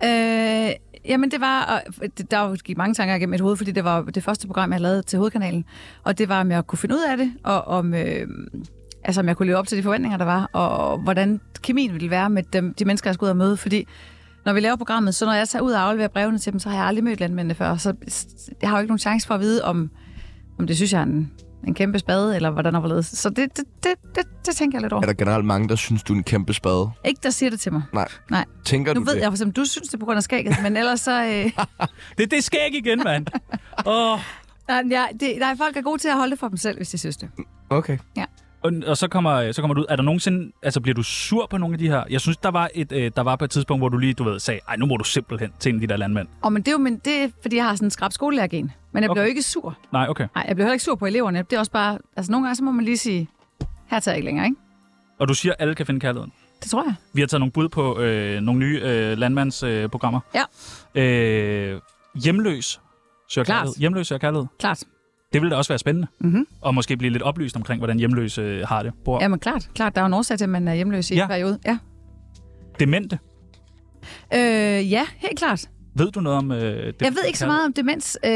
B: Øh, jamen, det var... Og, det- der jo gik mange tanker igennem mit hoved, fordi det var det første program, jeg lavede til hovedkanalen. Og det var, om jeg kunne finde ud af det, og om... Øh, altså, om jeg kunne leve op til de forventninger, der var, og hvordan kemien ville være med dem, de mennesker, jeg skulle ud og møde. Fordi når vi laver programmet, så når jeg tager ud og afleverer brevene til dem, så har jeg aldrig mødt landmændene før. Så s- jeg har jo ikke nogen chance for at vide, om, om det synes jeg er en, en kæmpe spade, eller hvordan og hvorledes. Så det, det, det, det, det tænker jeg lidt over.
A: Er der generelt mange, der synes, du er en kæmpe spade?
B: Ikke, der siger det til mig.
A: Nej.
B: Nej.
A: Tænker
B: Nu
A: du
B: ved
A: det?
B: jeg for eksempel, du synes det er på grund af skægget, men ellers så... Øh,
C: Det, det er skæg igen, mand! oh,
B: nej, men jeg- det, nej, folk er gode til at holde det for dem selv, hvis de synes det.
A: Okay.
C: og, og så, kommer, øh, så kommer du ud. Er der nogensinde... Altså, bliver du sur på nogle af de her... Jeg synes, der var, et, øh, der var på et tidspunkt, hvor du lige, du ved, sagde, ej, nu må du simpelthen til en af de der landmænd.
B: Og men det er jo men det, er, fordi jeg har sådan en skrab skolelærergen. Men jeg bliver
C: Okay.
B: jo ikke sur.
C: Nej, okay.
B: Nej, jeg bliver heller ikke sur på eleverne. Det er også bare... Altså, nogle gange så må man lige sige, her tager jeg ikke længere, ikke?
C: Og du siger, at alle kan finde kærligheden.
B: Det tror jeg.
C: Vi har taget nogle bud på øh, nogle nye øh, landmandsprogrammer.
B: Ja.
C: Øh, hjemløs søger
B: Klart.
C: kærlighed. Hjemløs søger kærlighed.
B: Klart.
C: Det ville da også være spændende.
B: Mhm.
C: Og måske blive lidt oplyst omkring, hvordan hjemløse øh, har det. Bor
B: Ja, men klart. Klart, der er jo en årsag til, at man er hjemløs i
C: Ja.
B: ja. en periode. Ja.
C: demente.
B: Øh, ja, helt klart.
C: Ved du noget om øh, det?
B: Jeg ved ikke så meget om demens. Øh,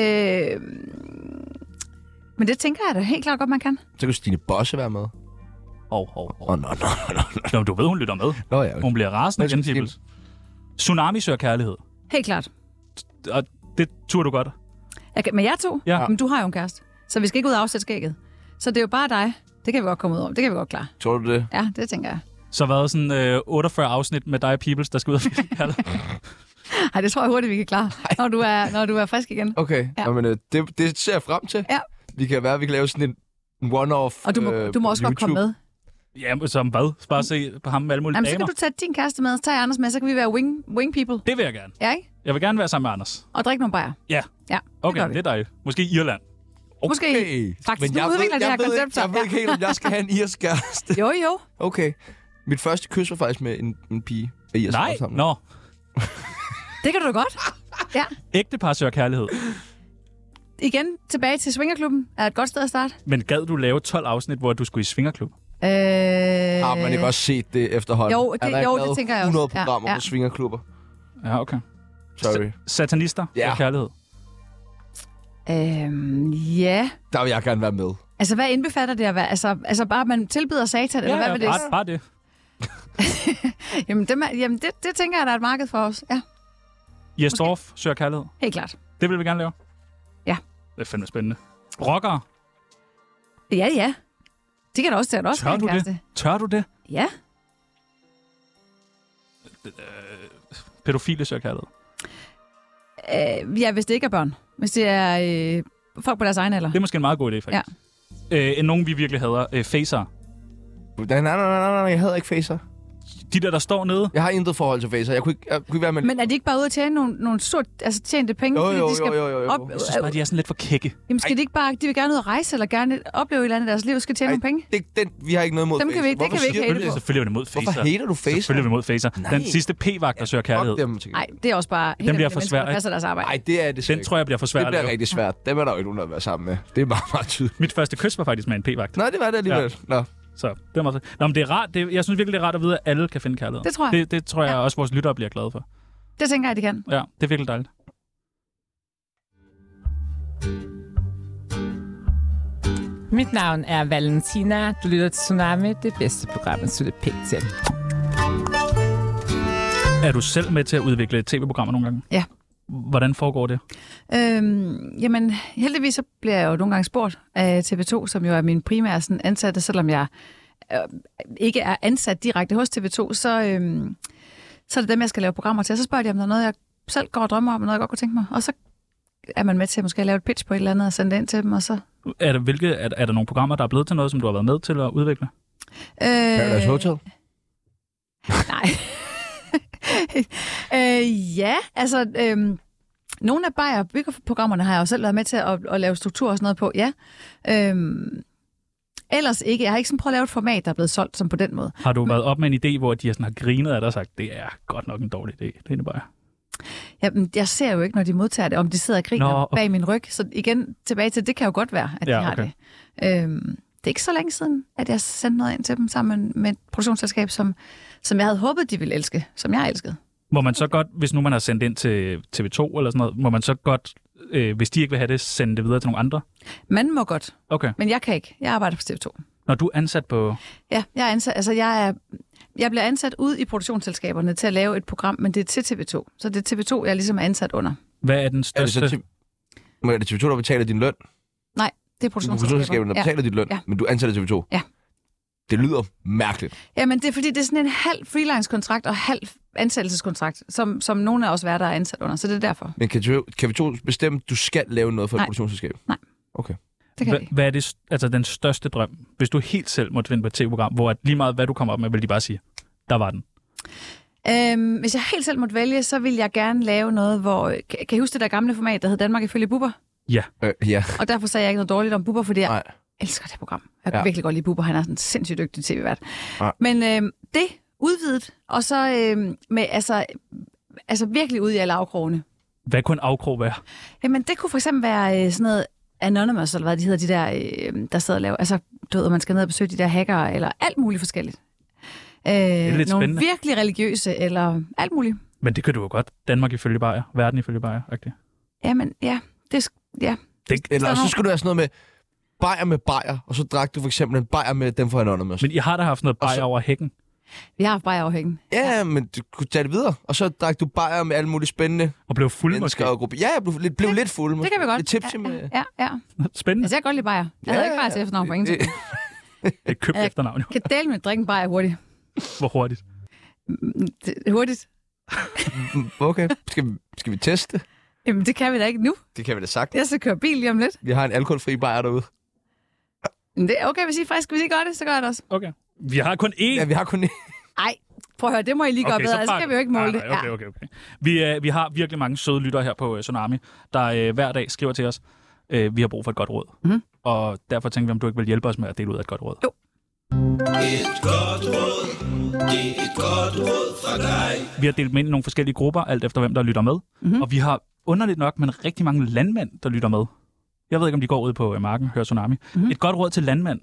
B: men det tænker jeg da helt klart godt, man kan.
A: Så kunne Stine Bosse være med.
C: Hov, hov,
A: Åh,
C: hov.
A: oh, nå, nå, nå, nå.
C: Nå, du ved, hun lytter med.
A: Nå, ja, okay.
C: Hun bliver
A: Nå,
C: rasende igen,
A: skal vi-
C: Tibbles. Tsunami søger kærlighed.
B: Helt klart.
C: Og det turde du godt.
B: Jeg kan, men jeg to?
C: Ja.
B: Men du har jo en kæreste, så vi skal ikke ud og afsætte skægget. Så det er jo bare dig. Det kan vi godt komme ud over. Det kan vi godt klare.
A: Tror du det?
B: Ja, det tænker jeg.
C: Så har været sådan øh, 48 afsnit med dig, Peoples, der skal ud og
B: [LAUGHS]
C: finde kærlighed.
B: Ej, det tror jeg hurtigt, vi kan klare, når du er, når du er frisk igen.
A: Okay,
B: Ja.
A: ja. men øh, det, det ser jeg frem til.
B: Ja.
A: Vi kan være, vi kan lave sådan en en one-off
B: Og du må,
A: øh,
B: du må
A: på
B: også godt
A: YouTube.
B: komme med.
C: Jamen, som hvad? Bare se på ham med alle mulige
B: Jamen, så
C: damer.
B: kan du tage din kæreste med, så tager jeg Anders med, så kan vi være wing, wing people.
C: Det vil jeg gerne.
B: Ja, ikke?
C: Jeg vil gerne være sammen med Anders.
B: Og drikke nogle bajer.
C: Ja.
B: Ja,
C: Okay,
B: gør
C: det,
B: vi.
C: det er dejligt. Måske Irland.
A: Okay.
B: Måske. Faktisk,
A: men
B: nu
A: jeg
B: udvikler
A: ved,
B: det her
A: jeg ved,
B: koncept
A: ikke-
B: sig.
A: Jeg ved
B: Ja.
A: ikke helt, om jeg skal have en irsk kæreste.
B: Jo, jo.
A: Okay. Mit første kys var faktisk med en, en pige. af irsk
C: Nej,
A: afstamning.
C: nå.
B: Det kan
A: [LAUGHS]
B: du godt. Ja.
C: Ægte par søger kærlighed.
B: Igen, tilbage til Svingerklubben er et godt sted at starte.
C: Men gad du lave 12 afsnit, hvor du skulle i svingerklub?
B: Øh...
A: Har man ikke også set det efterhånden?
B: Jo, det-
A: Er der ikke
B: jo, det
A: lavet
B: tænker jeg
A: 100
B: også. Ja,
A: programmer
B: ja.
A: på svingerklubber.
C: Ja, okay.
A: Sorry.
C: Satanister
A: Ja.
C: søger kærlighed.
B: Øh, ja.
A: Der vil jeg gerne være med.
B: Altså, hvad indbefatter det at være? Altså, altså bare, at man tilbyder satan, eller hvad vil det?
C: bare, bare det.
B: Jamen, dem er, jamen det, det tænker jeg, der er et marked for os. Ja,
C: Jes Dorf søger kærlighed.
B: helt klart.
C: Det vil vi gerne lave.
B: Ja.
C: Det er fandme spændende. Rockere,
B: Ja, ja. De kan da også tage også
C: tør
B: have en
C: du
B: kæreste.
C: det? Tør du det?
B: Ja.
C: Pædofile søger kærlighed.
B: Øh, ja, hvis det ikke er børn. Hvis det er øh, folk på deres egen alder.
C: Det er måske en meget god idé, faktisk. Ja. Øh, end nogen, vi virkelig hader. Øh, facer.
A: Nej, nej, nej, nej, nej, jeg havde ikke facer.
C: De der, der står nede.
A: Jeg har intet forhold til facer. Jeg kunne ikke, jeg kunne ikke være med...
B: Men er de ikke bare ude at tjene nogle, nogle stort, altså tjente penge,
A: Jo,
B: fordi
A: jo,
B: de skal
A: jo, jo, jo, jo.
B: op... Øh,
A: Jeg
C: Jeg synes bare, de er sådan lidt for kække.
B: Jamen skal de ikke bare... De vil gerne ud at rejse, eller gerne opleve et eller andet i deres liv, skal tjene
A: Ej,
B: nogle penge.
A: Det, den, vi har ikke noget imod
B: Dem kan vi- det
A: Hvorfor
B: kan vi ikke
A: siger
B: hate
A: du det?
B: på.
C: Selvfølgelig er vi imod facer.
A: Hvorfor hater du facer?
C: Selvfølgelig er vi imod facer.
A: Nej.
C: Den sidste p-vagt, der søger kærlighed.
A: Fuck dem, tænker
B: Nej,
A: jeg.
B: det er også bare... helt
C: bliver
B: almindelige mennesker,
C: for svært,
B: der
C: ikke?
B: passer deres arbejde.
A: Ej, det er det
C: Den tror jeg bliver for svær
A: det
C: at
A: bliver
C: lave.
A: rigtig svært. Dem er der jo ikke nogen, der vil være sammen med. Det er meget, meget tydeligt. Øh,
C: Mit første kys var faktisk med en p-vagt.
A: Nej, det var det alligevel. Nå.
C: Så det var meget fedt. Nå, men det er rart. Det, jeg synes virkelig, det er rart at vide, at alle kan finde kærlighed.
B: Det tror jeg.
C: Det, det tror jeg
B: Ja.
C: også, vores lyttere bliver glade for.
B: Det tænker jeg, de kan.
C: Ja, det er virkelig dejligt.
J: Mit navn er Valentina. Du lytter til Tsunami, det bedste program, at slutte pænt til.
C: Er du selv med til at udvikle tv-programmer nogle gange?
B: Ja.
C: Hvordan foregår det?
B: Øhm, jamen, heldigvis så bliver jeg jo nogle gange spurgt af TV2, som jo er min primære sådan, ansatte, selvom jeg øh, ikke er ansat direkte hos TV2, så, øhm, så er det dem, jeg skal lave programmer til. Og så spørger de, om der er noget, jeg selv går og drømmer om, og noget, jeg godt kunne tænke mig. Og så er man med til at måske lave et pitch på et eller andet og sende det ind til dem, og så...
C: Er der, hvilke, er, er der nogle programmer, der er blevet til noget, som du har været med til at udvikle?
B: Øh,
C: Paradise Hotel?
B: [LAUGHS] øh, ja, altså... Øh, nogle af Bayer byggeprogrammerne har jeg jo selv været med til at, at lave struktur og sådan noget på, ja. Øhm, ellers ikke. Jeg har ikke sådan prøvet at lave et format, der er blevet solgt som på den måde.
C: Har du været op med en idé, hvor de har sådan har grinet af dig og sagt, det er godt nok en dårlig idé, det er bare.
B: Jeg, jeg ser jo ikke, når de modtager det, om de sidder og griner
C: Nå,
B: Nå,
C: okay.
B: okay. bag min ryg. Så igen, tilbage til, det kan jo godt være, at
C: Ja,
B: de har
C: okay.
B: det. Øhm, det er ikke så længe siden, at jeg sendte noget ind til dem sammen med et produktionsselskab, som, som jeg havde håbet, de ville elske, som jeg elskede.
C: Må man så godt, hvis nu man har sendt ind til TV2 eller sådan noget, må man så godt, øh, hvis de ikke vil have det, sende det videre til nogle andre?
B: Man må godt,
C: Okay.
B: men jeg kan ikke. Jeg arbejder på TV2.
C: Når du er ansat på...
B: Ja, jeg er ansat, altså jeg er jeg bliver ansat ud i produktionsselskaberne til at lave et program, men det er til TV2. Så det er TV2, jeg ligesom er ansat under.
C: Hvad er den
A: største... Er det, så TV... Men er det TV2, der betaler din løn?
B: Nej, det er
A: Det er Produktionsselskaberne,
B: produktionsselskaberne.
A: der betaler din løn,
B: Ja.
A: men du ansætter TV2?
B: Ja.
A: Det lyder mærkeligt.
B: ja. men det er fordi, det er sådan en halv freelance-kontrakt og halv ansættelseskontrakt, som, som nogle af os værter er ansat under. Så det er derfor.
A: Men kan TV2, kan TV2 bestemme, at du skal lave noget for et
B: Nej.
A: produktionsselskab?
B: Nej.
A: Okay.
B: Det kan
C: Hva,
B: jeg ikke.
C: hvad er det, s- altså den største drøm, hvis du helt selv måtte vinde på et tv-program, hvor at lige meget hvad du kommer op med, vil de bare sige, der var den.
B: Øhm, hvis jeg helt selv måtte vælge, så vil jeg gerne lave noget, hvor... Kan, kan I huske det der gamle format, der hed Danmark ifølge Bubber?
C: Ja.
A: Øh, ja.
B: Og derfor sagde jeg ikke noget dårligt om Bubber, fordi jeg Nej. elsker det program. Jeg kan
A: Ja.
B: ja. virkelig godt lide Bubber. Han er sådan en sindssygt dygtig tv-vært.
A: Nej.
B: Men øh, det udvidet, og så øh, med, altså, altså virkelig ud i alle afkrogene.
C: Hvad kunne en afkrog være?
B: Jamen, det kunne for eksempel være øh, sådan noget Anonymous, eller hvad de hedder, de der, øh, der sidder og laver. Altså, du ved, at man skal ned og besøge de der hackere, eller alt muligt forskelligt. Øh,
C: er lidt
B: nogle
C: spændende.
B: virkelig religiøse, eller alt muligt.
C: Men det kan du jo godt. Danmark ifølge Bayer. Verden ifølge Bayer. Okay.
B: Jamen, ja. Det, sk- ja.
C: Det,
A: Eller
B: Så-
A: så skulle du have sådan noget med bajer med bajer, og så drak du for eksempel en bajer med dem fra Anonymous.
C: Men I har da haft noget bajer over hækken.
B: Vi har haft bare afhængen.
A: Ja, men du kunne tage det videre, og så drak du bajer med alle mulige spændende
C: Og blev fuld
A: mennesker og grupper. Ja, jeg blev lidt, blev lidt fuld.
B: Det kan vi godt.
A: Lidt tipsy med...
B: Ja, ja.
C: [LAUGHS] Spændende.
B: Altså, jeg kan godt lide bajer. Jeg havde
A: Ja,
B: ikke bajer til efternavn for ingenting.
C: Det er købt
B: Ja.
C: efternavn. jo.
B: Kan dele med drikke en bajer hurtigt.
C: Hvor hurtigt.
B: Det- Hurtigt?
A: [LAUGHS] Okay, skal vi, skal vi teste?
B: Jamen, det kan vi da ikke nu.
A: Det kan vi da sagtens.
B: Jeg skal køre bil lige om lidt.
A: Vi har en alkoholfri bajer derude.
B: Men det er okay, hvis I er friske. Hvis I gør det, så gør jeg det også.
C: Okay. Vi har kun én.
A: Ja, vi har kun en.
B: Ej, prøv at høre, det må I lige gøre okay, bedre. Så altså,
C: bakker-
B: kan vi jo ikke måle det.
C: nej, nej, Okay, okay, okay. Vi, øh, vi har virkelig mange søde lytter her på øh, Tsunami, der øh, hver dag skriver til os, øh, vi har brug for et godt råd.
B: Mhm.
C: Og derfor tænker vi, om du ikke vil hjælpe os med at dele ud af et godt råd. Jo.
F: Et godt råd. Det er et godt råd fra dig.
C: Vi har delt dem ind i nogle forskellige grupper, alt efter hvem der lytter med.
B: Mhm.
C: Mm-hmm. Og vi har underligt nok, men rigtig mange landmænd, der lytter med. Jeg ved ikke, om de går ud på øh, marken og hører Tsunami.
B: Mhm.
C: Mm-hmm. Et godt råd til landmænd.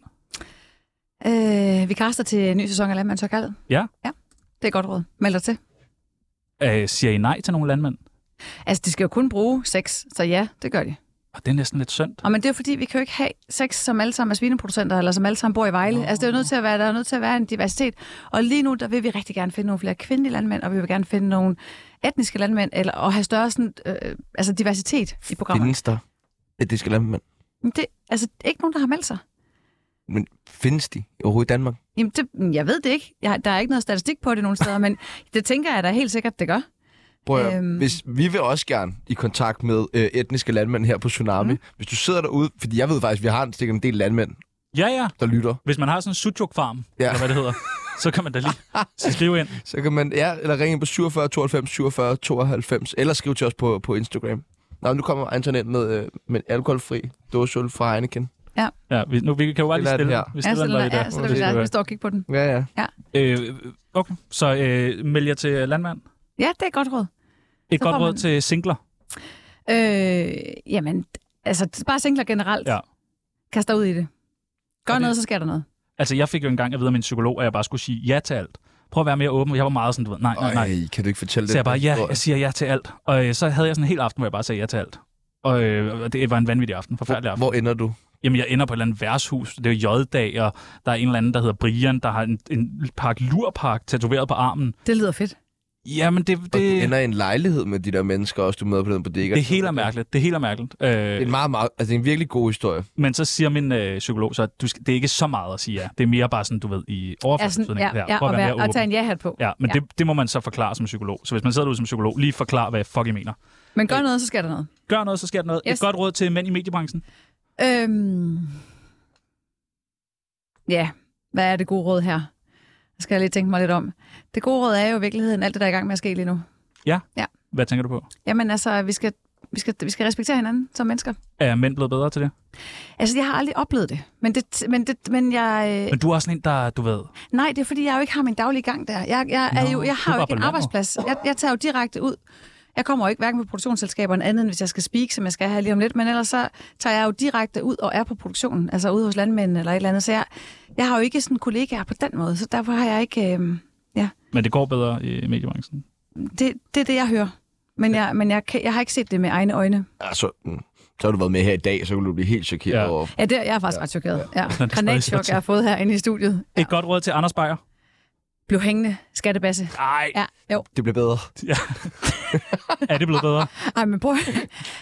B: Ja. Øh, vi kaster til en ny sæson af Landmandsørkaldet.
C: Ja.
B: Ja, det er et godt råd. Meld dig til.
C: Øh, siger I nej til nogle landmænd?
B: Altså, de skal jo kun bruge sex, så ja, det gør de.
C: Og det er næsten lidt synd.
B: Og men det er jo fordi, vi kan jo ikke have sex, som alle sammen er svineproducenter, eller som alle sammen bor i Vejle. Altså, det er jo nødt til at være, der er nødt til at være en diversitet. Og lige nu, der vil vi rigtig gerne finde nogle flere kvindelige landmænd, og vi vil gerne finde nogle etniske landmænd, eller, og have større sådan, øh, altså diversitet i programmet.
A: Findes der? Ja, det skal lade mand.
B: Men det, altså, ikke nogen, der har meldt sig.
A: Men findes de overhovedet i Danmark?
B: Jamen, det, jeg ved det ikke. Jeg, der er ikke noget statistik på det nogen steder, men [LAUGHS] det tænker jeg da helt sikkert, det gør.
A: Prøv at,
B: Øhm.
A: øhm... hvis, vi vil også gerne i kontakt med øh, etniske landmænd her på Tsunami.
B: Mhm.
A: Mm. Hvis du sidder derude, fordi jeg ved faktisk, at vi har en, sikkert en del landmænd,
C: Ja, ja.
A: der lytter.
C: Hvis man har sådan en sujuk-farm, ja.
A: Ja.
C: eller hvad det hedder, så kan man da lige skrive ind.
A: Så kan man, ja, eller ringe ind på 47 92 47 92, eller skrive til os på, på Instagram. Nå, nu kommer Anton ind med, øh, med en alkoholfri dåseøl fra Heineken.
C: Ja, vi, nu, vi kan jo bare
A: Det
C: lige
A: lader det
C: stille.
A: her.
C: Vi
B: Ja,
C: stiller
B: så,
C: den bare
B: lader-
C: lige der.
B: ja, så lader vi
C: Det skal
B: der,
C: være.
B: vi står og kigger på den.
A: Ja, ja.
C: Øh, okay, så øh, meld jer til landmand.
B: Ja, det er et godt råd.
C: Et
B: Så
C: godt
B: får
C: råd
B: man-
C: til singler.
B: Øh, jamen, altså, bare singler generelt.
C: Ja.
B: Kast dig ud i det. Gør
C: Og det-
B: noget, så sker der noget.
C: Altså, jeg fik jo engang at vide af min psykolog, at jeg bare skulle sige ja til alt. Prøv at være mere åben. Jeg var meget sådan, du ved, nej, nej, nej.
A: Ej, kan du ikke fortælle
C: Så jeg
A: den
C: bare, ja,
A: historie?
C: jeg siger ja til alt. Og øh, så havde jeg sådan en hel aften, hvor jeg bare sagde ja til alt. Og øh, det var en vanvittig aften, forfærdelig aften.
A: Hvor ender du?
C: Jamen, jeg ender på et eller andet værtshus. Det er jo J-dag, og der er en eller anden, der hedder Brian, der har en, en park lurpark tatoveret på armen.
B: Det lyder fedt.
C: Jamen, det, det,
A: Og du
C: det,
A: ender i en lejlighed med de der mennesker også, du møder på den bodega.
C: det hele er mærkeligt. Det hele er mærkeligt. Øh,
A: Det er en meget, meget, altså det er en virkelig god historie.
C: Men så siger min øh, psykolog så, at du skal, det er ikke så meget at sige ja. Det er mere bare sådan, du ved, i
B: Ja, sådan,
C: overførselsbetydning.
B: ja, ja,
C: prøv
B: og,
C: at
B: være,
C: mere
B: og
C: åben.
B: tage en ja-hat på.
C: Ja, men
B: Ja.
C: Det, det må man så forklare som psykolog. Så hvis man sidder derude som psykolog, lige forklar, hvad fuck I mener.
B: Men gør noget, så sker der noget.
C: Gør noget, så sker der noget. Yes.
B: Yes.
C: Et godt råd til mænd i mediebranchen.
B: Øhm... Ja, hvad er det gode råd her? Det skal jeg lige tænke mig lidt om. Det gode råd er jo i virkeligheden alt det, der er i gang med at ske lige nu.
C: Ja?
B: Ja.
C: Hvad tænker du på?
B: Jamen altså, vi skal, vi skal, vi skal respektere hinanden som mennesker.
C: Er mænd blevet bedre til det?
B: Altså, jeg har aldrig oplevet det. Men, det, men, det, men jeg... øh,
C: Men du er også en, der, du ved...
B: Nej, det er fordi, jeg jo ikke har min daglige gang der. Jeg, jeg, er
C: Nå,
B: jo, jeg
C: du
B: har
C: var
B: jo
C: på
B: ikke en
C: landet.
B: arbejdsplads. Jeg, jeg tager jo direkte ud. Jeg kommer jo ikke hverken på produktionsselskaberne andet, end hvis jeg skal speak, som jeg skal have lige om lidt. Men ellers så tager jeg jo direkte ud og er på produktionen, altså ude hos landmændene eller et eller andet. Så jeg, jeg har jo ikke sådan kollegaer på den måde, så derfor har jeg ikke... Øh,
C: Men det går bedre i mediebranchen.
B: det, det er det, jeg hører. Men, jeg, men jeg, kan- jeg har ikke set det med egne øjne.
A: Altså, mm, så har du været med her i dag, så kunne du blive helt chokeret ja. over...
B: Ja, [LAUGHS] det, jeg er faktisk ja, ret chokeret. Ja.
C: stadig
B: Granatchok,
C: sådan.
B: jeg har fået herinde i studiet.
C: Et godt råd til Anders Beyer.
B: Blev hængende, skattebasse.
C: Nej.
B: Ja, jo.
A: Det bliver bedre.
C: Ja. er det blevet bedre?
B: Ej, men prøv.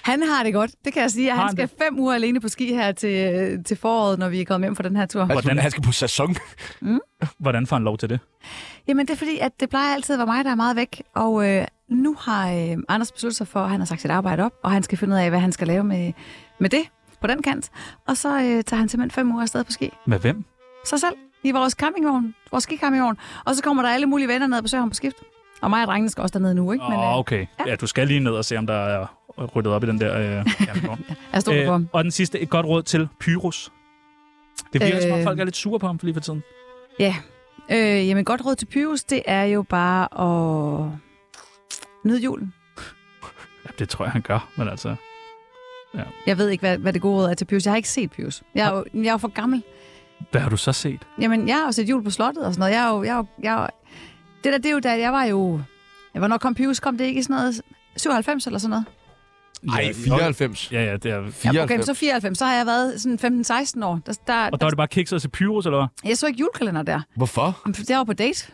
B: Han har det godt, det kan jeg sige.
C: Har
B: Han
C: han
B: skal fem uger alene på ski her til, til foråret, når vi er kommet hjem fra den her tur.
C: Hvordan?
A: Han skal på sæson.
B: Mm.
C: Hvordan får han lov til det?
B: Jamen, det er fordi, at det plejer altid at være mig, der er meget væk. Og øh, nu har øh, Anders besluttet sig for, at han har sagt sit arbejde op, og han skal finde ud af, hvad han skal lave med, med det på den kant. Og så øh, tager han simpelthen fem uger afsted på ski.
C: Med hvem?
B: sig selv i vores campingvogn, vores skicampingvogn. Og så kommer der alle mulige venner ned og besøger ham på skift. Og mig og drengene skal også derned nu, ikke? Men, øh,
C: Åh, oh, okay. Ja, du skal lige ned og se, om der er ryddet op i den der... Øh, campingvogn.
B: Jeg stoler på ham.
C: Øh, og den sidste, et godt råd til Pyrus. Det virker øh... som om
B: Øh.
C: folk er lidt sure på ham for lige for tiden.
B: Ja. Øh, jamen, godt råd til Pyrus, det er jo bare at nyde julen.
C: Ja, det tror jeg, han gør, men altså... Ja.
B: Jeg ved ikke, hvad, hvad det gode råd er til Pyrus. Jeg har ikke set Pyrus. Jeg er jo, jeg er jo for gammel.
C: Hvad har du så set?
B: Jamen, jeg har jo set jul på slottet og sådan noget. Jeg er jo... Jeg er jo, jeg er jo det der, det er jo da, jeg var jo... Ja, Hvornår kom Pyrus? Kom det ikke i sådan noget 97 eller sådan noget?
A: Ej, 94.
C: Ja, ja, det er...
B: Ja, okay, men så 94. Så har jeg været sådan 15-16 år. Der, der,
C: Og der var det bare kikset til Pyrus, eller hvad?
B: Jeg så ikke julekalender der.
A: Hvorfor?
B: Jeg var på date.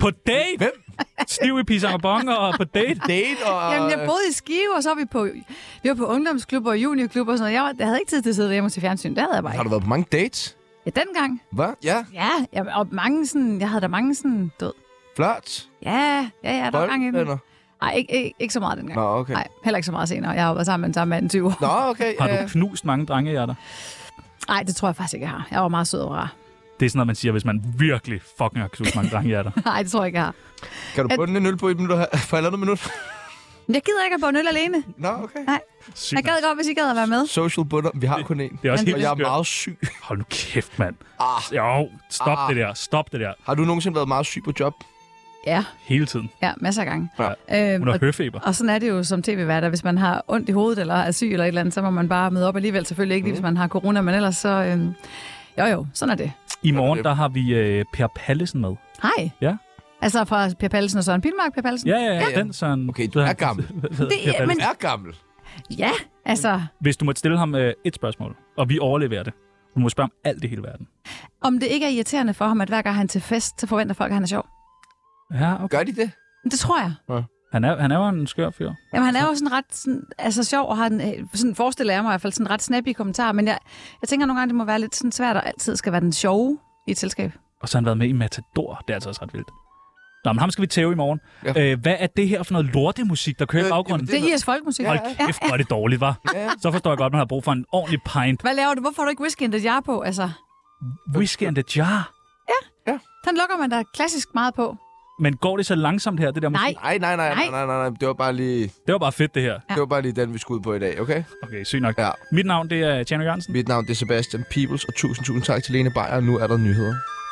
C: På date? Hvem? Stiv i pisang og bong og på
B: [LAUGHS]
C: date?
A: Date og... øh,
B: Jamen, jeg boede i Skive, og så var vi på, vi var på ungdomsklubber og juniorklubber og sådan noget. Jeg, var, jeg havde ikke tid til at sidde hjemme til fjernsyn. Det havde jeg bare
A: Har
B: ikke.
A: du været på mange dates?
B: Ja, dengang.
A: Hvad? Ja.
B: Ja, jeg, og mange sådan, jeg havde da mange sådan, død.
A: Flot.
B: Ja, ja, ja, der var gang i den.
A: Boldvenner?
B: Nej, ikke, ikke, ikke, så meget dengang.
A: Nå, okay.
B: Nej, heller ikke så meget senere. Jeg har jo været sammen med den samme mand i 20 år.
A: Nå, okay. Øh,
C: Har du knust mange drengehjerter?
B: Nej, det tror jeg faktisk ikke, jeg har. Jeg var meget sød og rar. [LAUGHS]
C: Det er sådan noget, man siger, hvis man virkelig fucking har knust mange
B: [LAUGHS]
C: drengehjerter.
B: Nej, det tror jeg ikke, jeg har.
A: Kan du
B: At-
A: bunde en øl på et minut her? For halvandet minut?
B: Men Jeg gider ikke at få en øl alene.
A: Nå, okay.
B: Nej,
C: Sygt.
B: jeg gad godt, hvis I gad at være med.
A: Social butter. Vi har kun én.
C: Det er også
B: Men
C: helt
A: Og jeg er
C: skørt.
A: meget syg.
C: Hold nu kæft, mand.
A: Ah.
C: Jo, stop
A: Ah.
C: det der. Stop det der.
A: Har du nogensinde været meget syg på job?
B: Ja,
C: Hele tiden.
B: ja, masser af gange.
A: Ja.
B: Øhm,
C: Hun har
B: og-
C: høfeber.
B: Og sådan er det jo som tv-værter. Hvis man har ondt i hovedet eller er syg eller et eller andet, så må man bare møde op alligevel. Selvfølgelig ikke, mm. hvis man har corona, men ellers så... Øhm, jo jo, sådan er det.
C: I morgen, der har vi øh, Per Pallesen med.
B: Hej.
C: Ja.
B: Altså fra Per Pallesen og Søren Pilmark, Per Pallesen?
C: Ja, ja, ja. Den sådan...
A: Okay, du er
C: [LAUGHS]
A: gammel.
B: Det, men,
A: Du er gammel.
B: ja, altså,
C: Hvis du måtte stille ham øh, et spørgsmål, og vi overleverer det. Du må spørge om alt i hele verden.
B: om det ikke er irriterende for ham, at hver gang han er til fest, så forventer folk, at han er sjov.
C: Ja, okay.
A: Gør de det?
B: Men Det tror jeg.
C: Han er, han er jo en skør fyr.
B: Jamen, han er jo sådan ret sådan, altså, sjov, og har en, øh, sådan forestiller jeg mig i hvert fald sådan ret snappy kommentar, men jeg, jeg tænker nogle gange, det må være lidt sådan svært, at altid skal være den sjove i et selskab.
C: Og så har han været med i Matador. Det er altså også ret vildt. Nå, men ham skal vi tæve i morgen. Ja.
A: Ja.
C: Øh, hvad er det her for noget lortemusik, der kører i
A: Øh,
C: baggrunden?
B: Det er IS folkemusik.
C: Hold kæft, hvor er det dårligt, var.
A: Ja.
C: Så forstår jeg godt, at man har brug for en ordentlig pint.
B: Hvad laver du? Hvorfor har du ikke whisky in the jar på? Altså,
C: Whisky and the jar.
B: den lukker man da klassisk meget på.
C: Men går det så langsomt her, det der musik?
B: Nej,
A: Nej, nej, nej, nej, nej, nej, nej. Det var bare lige,
C: Det var bare fedt, det her.
A: det var bare lige den, vi skulle ud på i dag, okay?
C: Okay, sygt nok.
A: Ja.
C: Mit navn, det er Tjerno Jørgensen.
A: Mit navn det er Sebastian Peebles, og tusind, tusind tak til Lene Beyer. Nu er der nyheder.